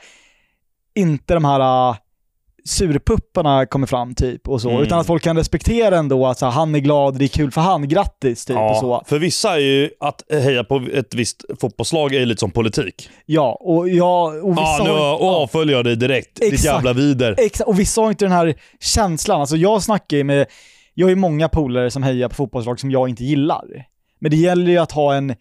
S2: inte de här äh, surpupparna kommer fram typ och så,
S1: Mm.
S2: utan att folk kan respektera ändå att så här, han är glad, det är kul för han, grattis typ och så.
S1: För vissa är ju att heja på ett visst fotbollslag är ju lite som politik.
S2: Ja, och jag... Och vissa
S1: Ja, nu
S2: har-
S1: och avföljer jag dig direkt. Ditt
S2: Exakt.
S1: jävla vider.
S2: Exa- och vissa har inte den här känslan. Alltså jag snackar ju med, jag har ju många polare som hejar på fotbollslag som jag inte gillar. Men det gäller ju att ha en,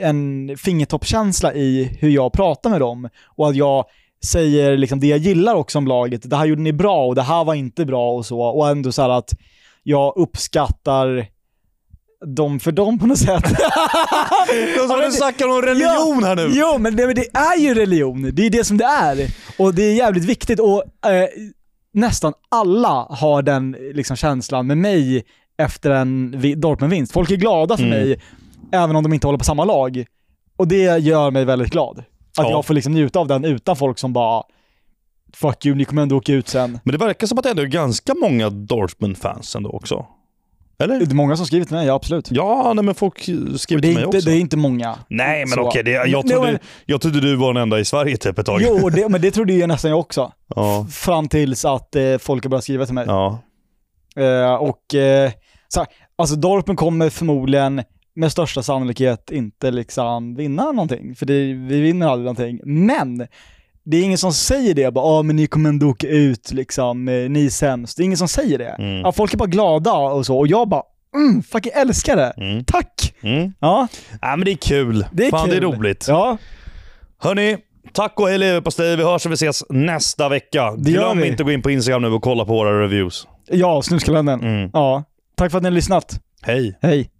S2: en fingertoppkänsla i hur jag pratar med dem och att jag säger liksom det jag gillar också om laget. Det här gjorde ni bra och det här var inte bra och så. Och ändå så här att jag uppskattar dem för dem på något sätt. Ja, men
S1: Nu
S2: det-
S1: snackar om religion här nu.
S2: Jo, men det, men det är ju religion. Det är det som det är. Och det är jävligt viktigt och eh, nästan alla har den eh, liksom, känslan med mig efter en vi- Dortmund-vinst. Folk är glada för
S1: Mm.
S2: mig, även om de inte håller på samma lag. Och det gör mig väldigt glad. Att
S1: Ja.
S2: jag får liksom njuta av den utan folk som bara Fuck you, ni kommer ändå åka ut sen.
S1: Men det verkar som att det ändå är ganska många Dortmund-fans ändå också.
S2: Det
S1: Eller?
S2: är många som skrivit till mig, ja absolut.
S1: Ja, nej, men folk skriver
S2: Det
S1: till
S2: är,
S1: mig
S2: inte,
S1: också.
S2: det är inte många.
S1: Nej, men
S2: Så.
S1: okej. det- jag,
S2: Nej,
S1: trodde-
S2: men-
S1: jag trodde du var den enda i Sverige typ ett tag.
S2: Jo, det, men det trodde ju nästan jag också.
S1: Ja.
S2: Fram tills att eh, folk har börjat skriva till mig.
S1: ja.
S2: Eh, och eh, så här, alltså Dorpen kommer förmodligen med största sannolikhet inte liksom vinna någonting, för det, vi vinner aldrig någonting. Men det är ingen som säger det, bara ah, men ni kommer ändå åka ut liksom, eh, ni är sämst. Det är ingen som säger det.
S1: Mm.
S2: Ja, folk är bara glada och så, och jag bara mm, fucking älskar det.
S1: Mm.
S2: Tack!
S1: Mm.
S2: Ja,
S1: Nej, men det är kul.
S2: det är
S1: Fan,
S2: kul.
S1: det är roligt.
S2: Ja,
S1: Hörni, tack och hej leverpastej. Vi hörs och vi ses nästa vecka.
S2: Det gör
S1: Glöm
S2: vi.
S1: inte att gå in på Instagram nu och kolla på våra reviews.
S2: ja snuskalendern.
S1: Mm.
S2: Ja, tack för att ni har lyssnat.
S1: Hej!
S2: Hej!